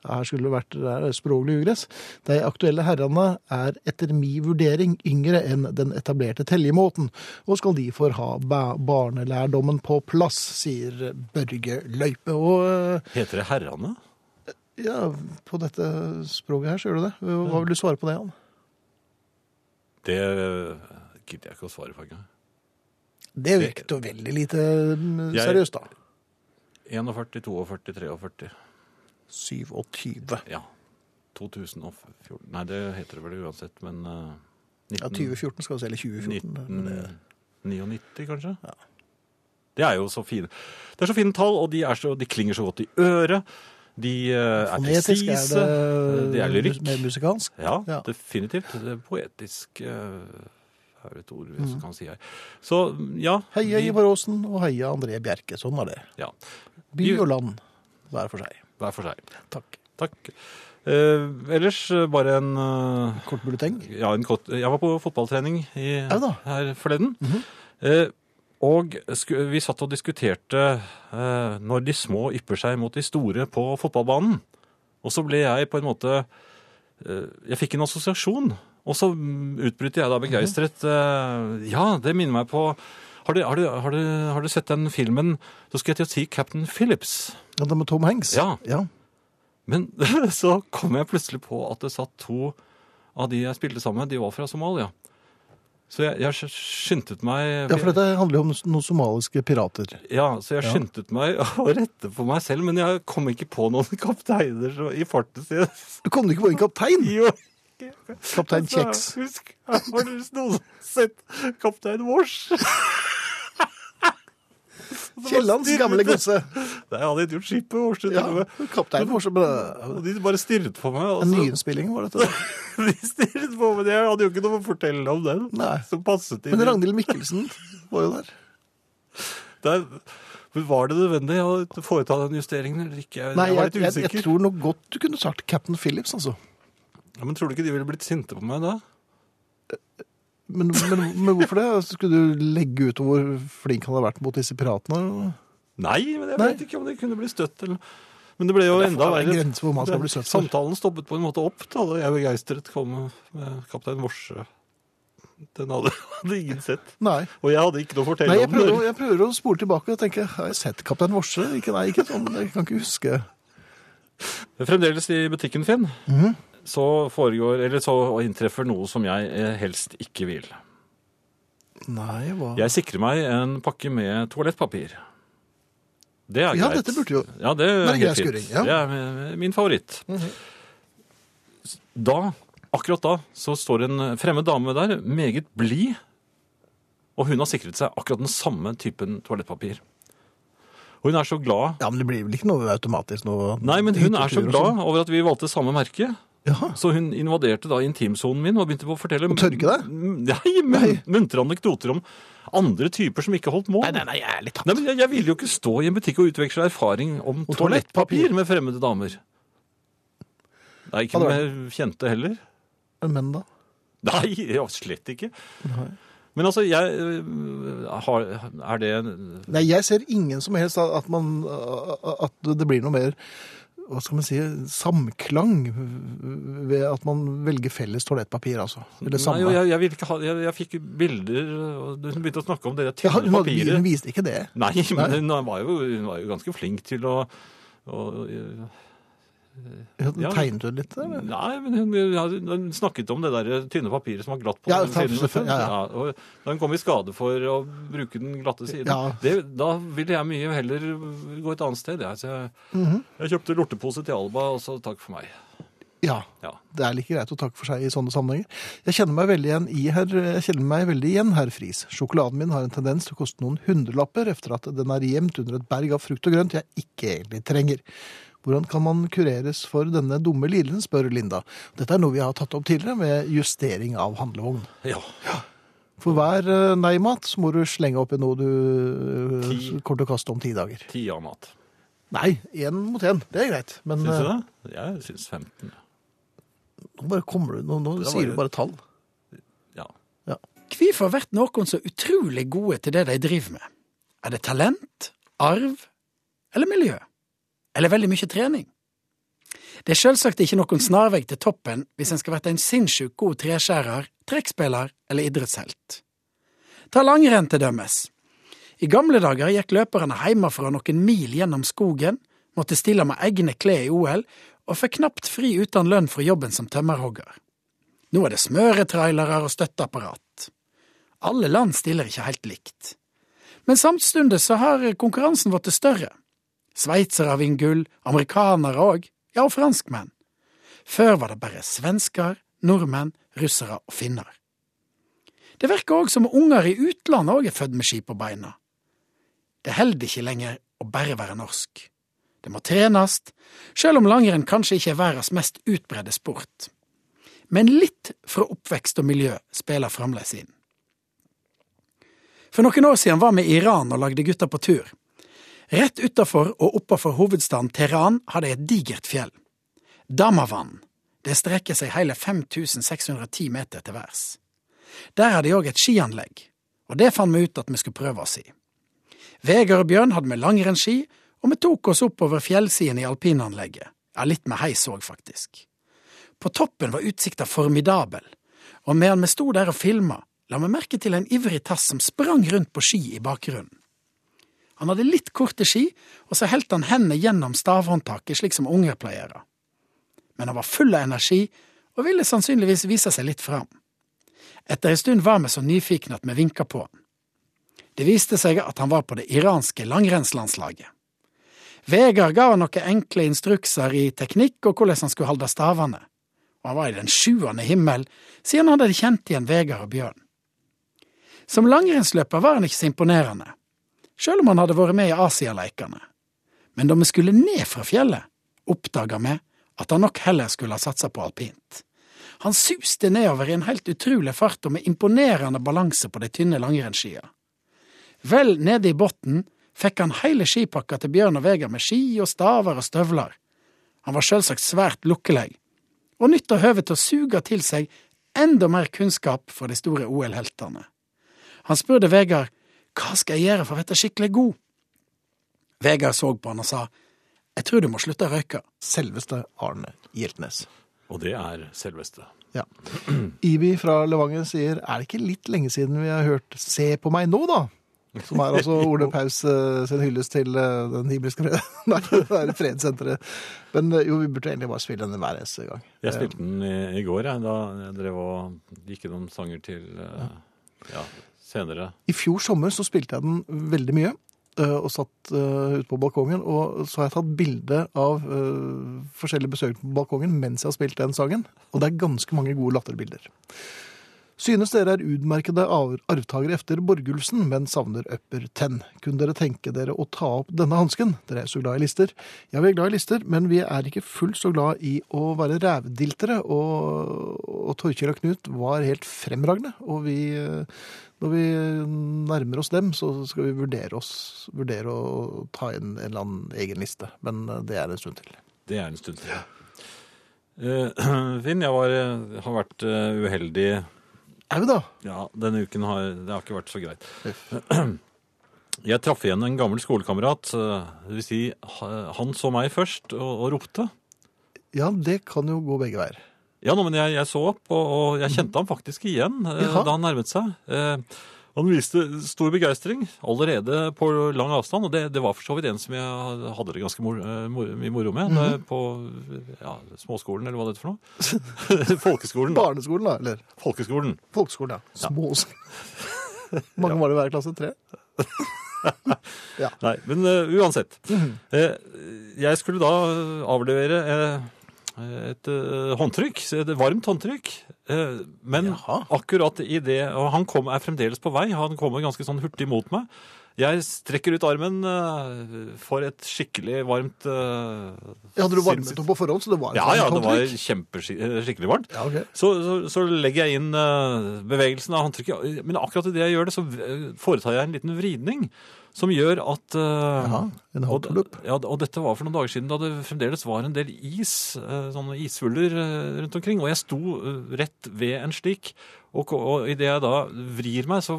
S2: her skulle det vært det er språklig ugress. De aktuelle herrene er etter mi vurdering yngre enn den etablerte teljemåten, og skal de få ha ba barnelærdommen på plass, sier Børge Løipe. Og eh,
S1: Heter det Herrane?
S2: ja, på dette språket her, så gjør du det. Hva vil du svare på det, Jan?
S1: Det eh, gidder jeg ikke å svare på engang.
S2: Det virket jo veldig lite mm,
S1: Jeg-
S2: seriøst, da.
S1: 41, 42, 43.
S2: 27.
S1: Ja. 2014 Nei, det heter det vel uansett, men eh,
S2: Ja,
S1: 19,
S2: 2014 skal vi se, eller 2014. men eh, det-
S1: 1999, kanskje? Det er jo så fine. Det er så fine tall, og de, er så, de klinger så godt i øret. De eh, er
S2: Fonetisk
S1: presise.
S2: er det,
S1: Det er lyrikk.
S2: mus- Mer musikalsk.
S1: Ja,
S2: Ja.
S1: definitivt. Det er poetisk eh, er et ord vi
S2: Mm.
S1: kan si her. Så ja.
S2: Heia
S1: de-
S2: Ivar Aasen og heia André Bjerke. Sånn er det.
S1: ja.
S2: By
S1: Vi-
S2: og land hver for seg.
S1: Hver for seg.
S2: Takk.
S1: Takk. Eh, ellers eh, bare en eh,
S2: Kort bulleteng.
S1: Ja, en kort, jeg var på fotballtrening i,
S2: Ja da.
S1: her forleden. eh, og sku, vi satt og diskuterte eh, når de små ypper seg mot de store på fotballbanen. Og så ble jeg på en måte eh, Jeg fikk en assosiasjon. Og så mm, utbrøt jeg da begeistret. eh, ja, det minner meg på har du, har, du, har, du, har du sett den filmen Så skal jeg til å si Captain Phillips.
S2: Ja, det med Tom Hanks.
S1: Ja. Men så kom jeg plutselig på at det satt to av de jeg spilte sammen med, de var fra Somalia. Så jeg, jeg skyndtet meg
S2: Ja, for dette handler jo om noen somaliske pirater.
S1: Ja, så jeg skyndte meg å rette på meg selv, men jeg kom ikke på noen kapteiner så, i farten sin.
S2: Du kom ikke på en kaptein!
S1: Jo,
S2: Kaptein Kjeks.
S1: altså, Husk, har dere noen som har sett Kaptein Vårs?
S2: Kiellands gamle godse.
S1: Nei, han het jo Skipet Vårs. til
S2: Ja,
S1: og med.
S2: kaptein vår som
S1: Og de bare stirret på meg. altså. og
S2: En
S1: så-
S2: nyinnspilling var dette.
S1: De stirret på meg, men jeg hadde jo ikke noe å fortelle om den.
S2: Nei.
S1: Som passet inn.
S2: Men
S1: i-
S2: Ragnhild Mikkelsen var jo der.
S1: Der, men var det nødvendig å foreta den justeringen eller ikke? Jeg,
S2: Nei,
S1: jeg var litt
S2: jeg, jeg,
S1: usikker.
S2: jeg tror nok godt du kunne sagt Captain Phillips, altså.
S1: ja, men tror du ikke de ville blitt sinte på meg da?
S2: Men, men, men hvorfor det? Skulle du legge ut hvor flink han har vært mot disse piratene? eller?
S1: Nei, men jeg
S2: Nei.
S1: vet ikke om det kunne bli støtt. Eller... Men det ble jo
S2: Det er
S1: enda
S2: en
S1: verre.
S2: grense for hvor man skal bli søt for.
S1: Samtalen stoppet på en måte opp da da jeg begeistret kom med kaptein Morse. Den hadde, hadde ingen sett.
S2: Nei.
S1: Og jeg hadde ikke noe å fortelle
S2: Nei,
S1: om
S2: jeg
S1: det.
S2: prøver, å- jeg prøver å spole tilbake og tenke Har jeg sett Kaptein Morse? Ikke, nei, ikke sånn. Jeg kan ikke huske.
S1: Fremdeles i butikken, Finn, så, foregår, eller så inntreffer noe som jeg eh, helst ikke vil.
S2: Nei, hva
S1: Jeg sikrer meg en pakke med toalettpapir. Det er
S2: Ja,
S1: greit.
S2: dette burde jo
S1: Ja, det er
S2: Nei, grei
S1: helt fint.
S2: skuring, ja. Mhm.
S1: Det er eh, min favoritt. Da, akkurat da, så står en fremmed dame der, meget blid, og hun har sikret seg akkurat den samme typen toalettpapir. Og hun er så glad
S2: Ja, men det blir vel ikke noe automatisk noe
S1: Nei, men hun er så
S2: hyttetur og
S1: glad
S2: sånn.
S1: over at vi valgte samme merke.
S2: Jaha.
S1: Så hun invaderte da intimsonen min og begynte på å fortelle
S2: Og tørke deg?
S1: Nei, men, muntre anekdoter om andre typer som ikke holdt mål.
S2: Nei, nei, nei, jeg er litt tapt.
S1: Nei, men jeg, jeg ville jo ikke stå i en butikk og utveksle erfaring om
S2: Og toalettpapir.
S1: toalettpapir med fremmede damer. Nei, ikke
S2: Hadde
S1: med kjente heller.
S2: Men da?
S1: Nei, ja, slett ikke. Men altså, jeg øh, har, Er det
S2: Nei, jeg ser ingen som helst at man At det blir noe mer hva skal man si, samklang ved at man velger felles toalettpapir, altså.
S1: Nei,
S2: Eller
S1: jo,
S2: samme.
S1: jeg, jeg, ville ikke ha, jeg, jeg fikk bilder og Hun begynte å snakke om det der
S2: Ja,
S1: tynne
S2: hun, hadde-
S1: papiret.
S2: hun viste ikke det.
S1: Nei, men
S2: Nei.
S1: hun var, jo, hun var jo ganske flink til å, å øh,
S2: Hun
S1: Ja.
S2: Tegnet hun litt? Eller?
S1: Nei, men hun, hun snakket om det der tynne papiret som var glatt på
S2: Ja,
S1: den siden.
S2: selvfølgelig, ja, ja.
S1: og da hun kom i skade for å bruke den glatte siden,
S2: Ja.
S1: det, da ville jeg mye heller gå et annet sted. jeg. Så jeg,
S2: Mhm.
S1: jeg kjøpte lortepose til Alba, og så takk for meg.
S2: Ja.
S1: Ja.
S2: Det er like greit å takke for seg i sånne sammenhenger. Jeg kjenner meg veldig igjen i herr, jeg kjenner meg veldig igjen, herr Friis. Sjokoladen min har en tendens til å koste noen hundrelapper etter at den er gjemt under et berg av frukt og grønt jeg ikke egentlig trenger. Hvordan kan man kureres for denne dumme lidelsen, spør Linda. Dette er noe vi har tatt opp tidligere med justering av handlevogn.
S1: Ja.
S2: For hver eh, nei-mat så må du slenge oppi noe du eh,
S1: Ti.
S2: kommer til å kaste om ti dager.
S1: Ti av mat.
S2: Nei, én mot én. Det er greit.
S1: Syns
S2: Men
S1: du
S2: eh,
S1: det? Jeg syns 15.
S2: nå, bare kommer du, nå, nå
S1: Det var
S2: sier
S1: jo-
S2: du bare tall.
S1: Ja.
S3: Hvorfor blir noen så utrolig gode til det de driver med? Er det talent, arv eller miljø? Eller veldig mye trening? Det er selvsagt ikke noen snarvei til toppen hvis en skal være en sinnssykt god treskjærer, trekkspiller eller idrettshelt. Ta langrenn til dømes. I gamle dager gikk løperne hjemmefra noen mil gjennom skogen, måtte stille med egne klær i OL, og fikk knapt fri uten lønn fra jobben som tømmerhogger. Nå er det smøretrailere og støtteapparat. Alle land stiller ikke helt likt. Men samtidig så har konkurransen blitt større. Sveitsere vinner gull, amerikanere òg, ja, og franskmenn. Før var det bare svensker, nordmenn, russere og finner. Det virker òg som unger i utlandet òg er født med ski på beina. Det holder ikke lenger å bare være norsk. Det må trenes, sjøl om langrenn kanskje ikke er verdens mest utbredde sport. Men litt fra oppvekst og miljø spiller fremdeles inn. For noen år siden var vi i Iran og lagde Gutta på tur. Rett utafor og oppafor hovedstaden Teheran har de et digert fjell. Damavan. Det strekker seg hele 5610 meter til værs. Der har de òg et skianlegg, og det fant vi ut at vi skulle prøve oss i. Vegard og Bjørn hadde med langrennsski, og vi tok oss oppover fjellsiden i alpinanlegget. Ja, litt med heis òg, faktisk. På toppen var utsikta formidabel, og medan vi sto der og filma, la vi merke til en ivrig tass som sprang rundt på ski i bakgrunnen. Han hadde litt korte ski, og så helte han hendene gjennom stavhåndtaket, slik som unger pleier. Men han var full av energi, og ville sannsynligvis vise seg litt fram. Etter en stund var vi så nyfikne at vi vinka på han. Det viste seg at han var på det iranske langrennslandslaget. Vegard ga han noen enkle instrukser i teknikk og hvordan han skulle holde stavene og han var i den sjuende himmel siden han hadde kjent igjen Vegard og Bjørn. Som langrennsløper var han ikke så imponerende, selv om han hadde vært med i Asialeikene. Men da vi skulle ned fra fjellet, oppdaga vi at han nok heller skulle ha satsa på alpint. Han suste nedover i en helt utrolig fart og med imponerende balanse på de tynne langrennsskia. Vel nede i bunnen fikk han hele skipakka til Bjørn og Vegard med ski og staver og støvler. Han var selvsagt svært lukkelig, og nytta høvet til å suge til seg enda mer kunnskap fra de store OL-heltene. Han spurte Vegard hva skal jeg gjøre for å være skikkelig god? Vegard så på han og sa jeg tror du må slutte å røyke.
S2: Selveste Arne Hjeltnes.
S1: Og det er selveste.
S2: Ja. Ibi fra Levanger sier er det ikke litt lenge siden vi har hørt 'Se på meg nå', da? Som er altså Ole Paus eh, sin hyllest til eh, den hibelske fred... Nei, det er fredssenteret. Men eh, jo, vi burde egentlig bare spille den hver eneste gang.
S1: Jeg spilte den i, i går, jeg, da jeg drev og gikk gjennom sanger til eh, ja, senere.
S2: I fjor sommer så spilte jeg den veldig mye, øh, og satt øh, ute på balkongen. Og så har jeg tatt bilde av øh, forskjellige besøkende på balkongen mens jeg har spilt den sangen. Og det er ganske mange gode latterbilder. Synes dere er utmerkede av- arvtakere etter Borgulfsen, men savner Upper Ten. Kunne dere tenke dere å ta opp denne hansken? Dere er så glad i lister. Ja, vi er glad i lister, men vi er ikke fullt så glad i å være rævdiltere. Og, og Torkjell og Knut var helt fremragende, og vi øh, når vi eh, nærmer oss dem, så skal vi vurdere, oss, vurdere å ta inn en eller annen egen liste. Men eh, det er en stund til.
S1: Det er en stund siden. Eh, Finn, jeg var, eh, har vært eh, uheldig
S2: Er vi da?
S1: ja, denne uken. Har, det har ikke vært så greit. Jeg traff igjen en gammel skolekamerat. eh, Det vil si, ha- han så meg først og, og ropte.
S2: Ja, det kan jo gå begge veier.
S1: Ja, nå, men jeg, jeg så opp, og, og jeg kjente ham faktisk igjen eh,
S2: Jaha.
S1: da han nærmet seg. Eh, han viste stor begeistring allerede på lang avstand, og det, det var for så vidt en som jeg hadde det ganske mor, eh, mor, mye moro med da jeg på ja, småskolen, eller hva det heter for noe. Folkeskolen. da.
S2: Barneskolen, da? Eller
S1: Folkeskolen.
S2: folkeskolen, ja. Små Mange var det i hver klasse? Tre?
S1: Nei, men eh, uansett.
S2: Mhm.
S1: Eh, jeg skulle da avlevere eh, et eh, håndtrykk, et varmt håndtrykk. Eh, men
S2: Jaha.
S1: akkurat i det Og han kom, er fremdeles på vei. Han kommer ganske sånn hurtig mot meg. Jeg strekker ut armen eh, for et skikkelig varmt eh,
S2: Ja, hadde du varmet
S1: sinnssykt-
S2: opp på forhånd, så det var et
S1: Ja, ja, det var
S2: håndtrykk?
S1: kjempeskikkelig varmt.
S2: Ja, ok.
S1: Så, så, så legger jeg inn eh, bevegelsen av håndtrykket. Men akkurat idet jeg gjør det, så eh, foretar jeg en liten vridning som gjør at eh,
S2: Jaha, en
S1: og,
S2: hotloop.
S1: ja, og dette var for noen dager siden da det fremdeles var en del is, eh, sånne isvuller eh, rundt omkring. Og jeg sto eh, rett ved en slik. Og, ko- og idet jeg da vrir meg, så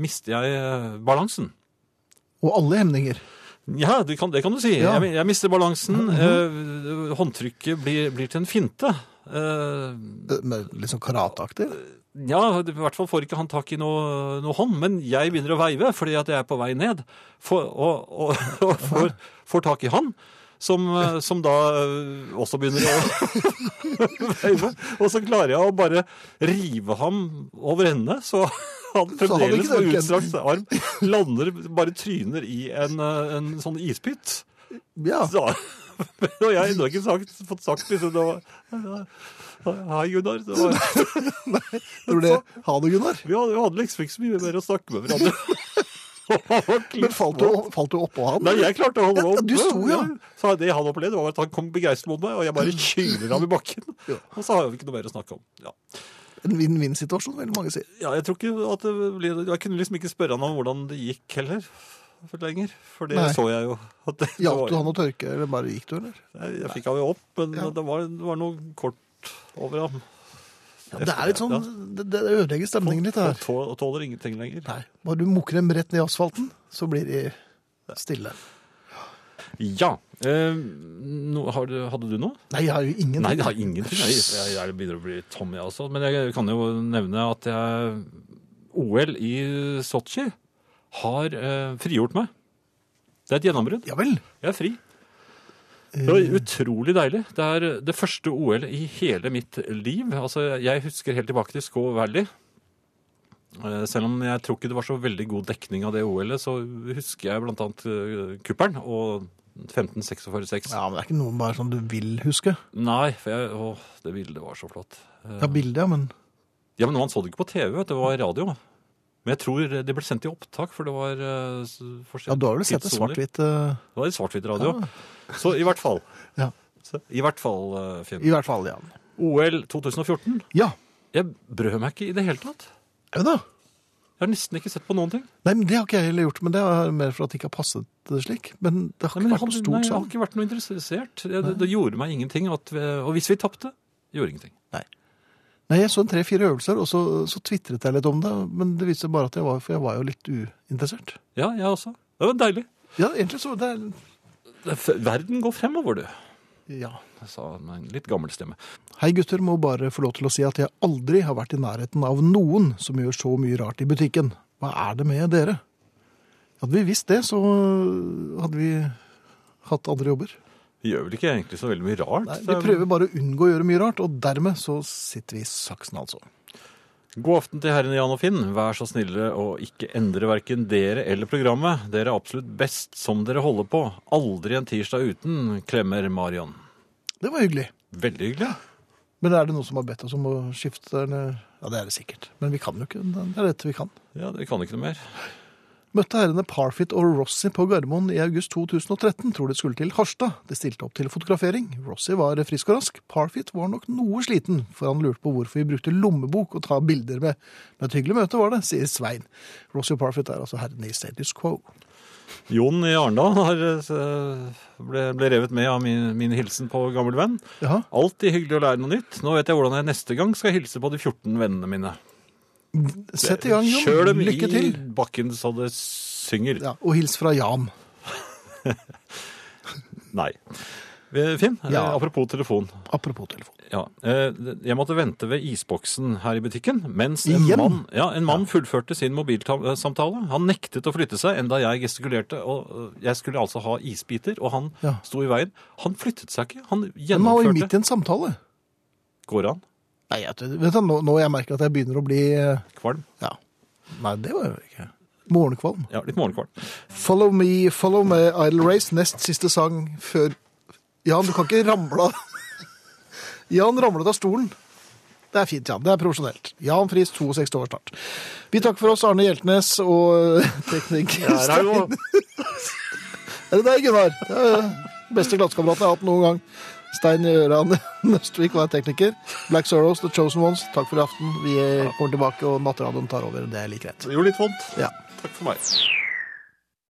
S1: mister jeg eh, balansen.
S2: Og alle hemninger.
S1: Ja, det kan, det kan du si.
S2: Ja. Mhm.
S1: Jeg, jeg mister balansen. eh, håndtrykket blir, blir til en finte. Eh,
S2: Eh, men Litt sånn karateaktig?
S1: Ja, i hvert fall får ikke han tak i noe, noe hånd, men jeg begynner å veive fordi at jeg er på vei ned. For, og og, og får, får tak i han, som, eh, som da eh, også begynner å veive. Og så klarer jeg å bare rive ham over ende, så han
S2: Så han ikke
S1: fremdeles med
S2: orker.
S1: utstrakt arm lander, bare tryner i en, eh, en sånn ispytt.
S2: Ja.
S1: Så, og jeg har ennå ikke sagt, fått sagt liksom det var, Hei, Gunnar. Det var,
S2: Tror du det? Ha det, Gunnar.
S1: vi hadde, vi hadde liksom ikke så mye mer å snakke med hverandre.
S2: Men falt du, falt du oppå han?
S1: Nei, jeg klarte å holde meg
S2: Ja,
S1: oppe.
S2: du sto, ja.
S1: Så det han opplevde, var at han kom begeistret mot meg, og jeg bare kyler ham i bakken.
S2: Ja.
S1: Og så har vi ikke noe mer å snakke om. Ja.
S2: En vinn-vinn-situasjon, veldig mange sier.
S1: ja, jeg tror ikke at det ble Jeg kunne liksom ikke spørre han om hvordan det gikk heller. For lenger. For det
S2: Nei.
S1: så jeg jo. At det, det
S2: Hjalp du
S1: var,
S2: han å tørke, eller bare gikk du, eller?
S1: jeg, jeg fikk ham jo opp, men
S2: Ja.
S1: det, var, det var noe kort over ham.
S2: Ja, det er litt sånn, det, det ødelegger stemningen litt det
S1: Og
S2: her.
S1: tå- og tåler ingenting lenger.
S2: Nei, bare du mokker dem rett ned i asfalten, så blir de stille.
S1: Ja. Eh, nå- har du- hadde du noe?
S2: Nei, jeg har jo ingen
S1: Nei, det har ingenting. Jeg, jeg, jeg begynner å bli tom, jeg også. Men jeg kan jo nevne at jeg, OL i Sotsji har eh, frigjort meg. Det er et gjennombrudd.
S2: Ja vel.
S1: Jeg er fri. Det var utrolig deilig. Det er det første OL i hele mitt liv. Altså, jeg husker helt tilbake til Skå Valley. Eh, Selv om jeg tror ikke det var så veldig god dekning av det OL-et, så husker jeg blant annet eh, kuppelen og 15-46-6.
S2: Ja, men det er ikke noe bare sånn du vil huske.
S1: Nei, for jeg, åh, det bildet var så flott. Eh,
S2: Ja, bildet, ja, men
S1: Ja, men man så det ikke på TV, vet du. Det var radio. Men jeg tror det ble sendt i opptak, for det var eh, s- forskjell-
S2: ja, du har vel sett det
S1: tidssoner.
S2: svart-hvitt eh,
S1: Det var i svart-hvitt radio. Så i hvert fall.
S2: Ja.
S1: Så, I hvert fall, eh, Finn.
S2: I hvert fall, ja.
S1: OL 2014.
S2: Ja,
S1: Jeg brød meg ikke i det hele tatt.
S2: er det da?
S1: Jeg har nesten ikke sett på noen ting.
S2: Nei, men det har ikke jeg heller gjort, men det er mer for at det ikke har passet det slik. Men det har
S1: Nei, men jeg,
S2: ikke vært noe
S1: hadde, nei,
S2: stort
S1: jeg har
S2: sånn.
S1: ikke vært noe interessert. Det, det, det gjorde meg ingenting. At vi, og hvis vi tapte, gjorde ingenting.
S2: Nei, jeg så en tre-fire øvelser, og så, så tvitret jeg litt om det. Men det viste seg bare at jeg var, for jeg var jo litt uinteressert.
S1: Ja, jeg også. Det var deilig.
S2: Ja, egentlig så det er,
S1: Det er f- Verden går fremover, du.
S2: ja.
S1: Jeg sa med en litt gammel stemme.
S2: Hei gutter, må bare få lov til å si at jeg aldri har vært i nærheten av noen som gjør så mye rart i butikken. Hva er det med dere? Hadde vi visst det, så hadde vi hatt andre jobber.
S1: Vi gjør vel ikke egentlig så veldig mye rart.
S2: Nei,
S1: Det
S2: vi
S1: er-
S2: prøver bare å unngå å gjøre mye rart, og dermed så sitter vi i saksen, altså.
S1: God aften til herrene Jan og Finn. Vær så snille å ikke endre verken dere eller programmet. Dere er absolutt best som dere holder på. Aldri en tirsdag uten, klemmer Marion.
S2: Det var hyggelig.
S1: Veldig hyggelig.
S2: Men er det noen som har bedt oss om å skifte? Eller? Ja, det er det sikkert. Men vi kan jo ikke. Det er dette vi kan.
S1: Ja, dere kan ikke noe mer.
S2: Møtte herrene Parfit og Rossi på Gardermoen i august 2013. Tror de skulle til Harstad. De stilte opp til fotografering. Rossi var frisk og rask. Parfit var nok noe sliten, for han lurte på hvorfor vi brukte lommebok å ta bilder med. Men et hyggelig møte var det, sier Svein. Rossi og Parfit er altså herrene i status quo.
S1: Jon i Arendal har, eh, ble, ble revet med av min, min hilsen på gammel venn.
S2: Jaha.
S1: Alltid hyggelig å lære noe nytt. Nå vet jeg hvordan jeg neste gang skal hilse på de 14 vennene mine.
S2: Sett i gang,
S1: Kjør
S2: Jon.
S1: dem
S2: Lykke til.
S1: i bakken så det synger.
S2: Ja, og hils fra Jan.
S1: Nei. Eh, Finn, eh,
S2: Ja.
S1: apropos telefon.
S2: Apropos telefon.
S1: Ja, eh, jeg måtte vente ved isboksen her i butikken, mens en
S2: Igjen?
S1: mann, ja, en mann fullførte sin mobilsamtale. Han nektet å flytte seg, enda jeg gestikulerte. og eh, Jeg skulle altså ha isbiter, og han
S2: Ja.
S1: sto i veien. Han flyttet seg ikke. Han
S2: Men man var jo
S1: gjennomførte.
S2: midt i en samtale.
S1: Går han?
S2: Nei, jeg, vet du, nå, nå jeg merker at jeg begynner å bli eh,
S1: Kvalm?
S2: Ja. Nei, det var jo ikke Morgenkvalm.
S1: Ja, litt morgenkvalm.
S2: Follow me, follow me, Idle Race. Nest siste sang før Jan, du kan ikke ramle av Jan ramlet av stolen. Det er fint, Jan. Det er profesjonelt. Jan Friis, 62 år snart. Vi takker for oss, Arne Hjeltnes og eh, teknikk. Er det deg, Gunnar? Det er den beste klassekamerat jeg har hatt noen gang. Stein Gøran Nøstvik var tekniker. Black Sorrows, The Chosen Ones. Takk for i aften. Vi eh, kommer tilbake, og Nattradioen tar over. Det er like greit.
S1: Det gjorde litt vondt.
S2: Ja.
S1: Takk for meg.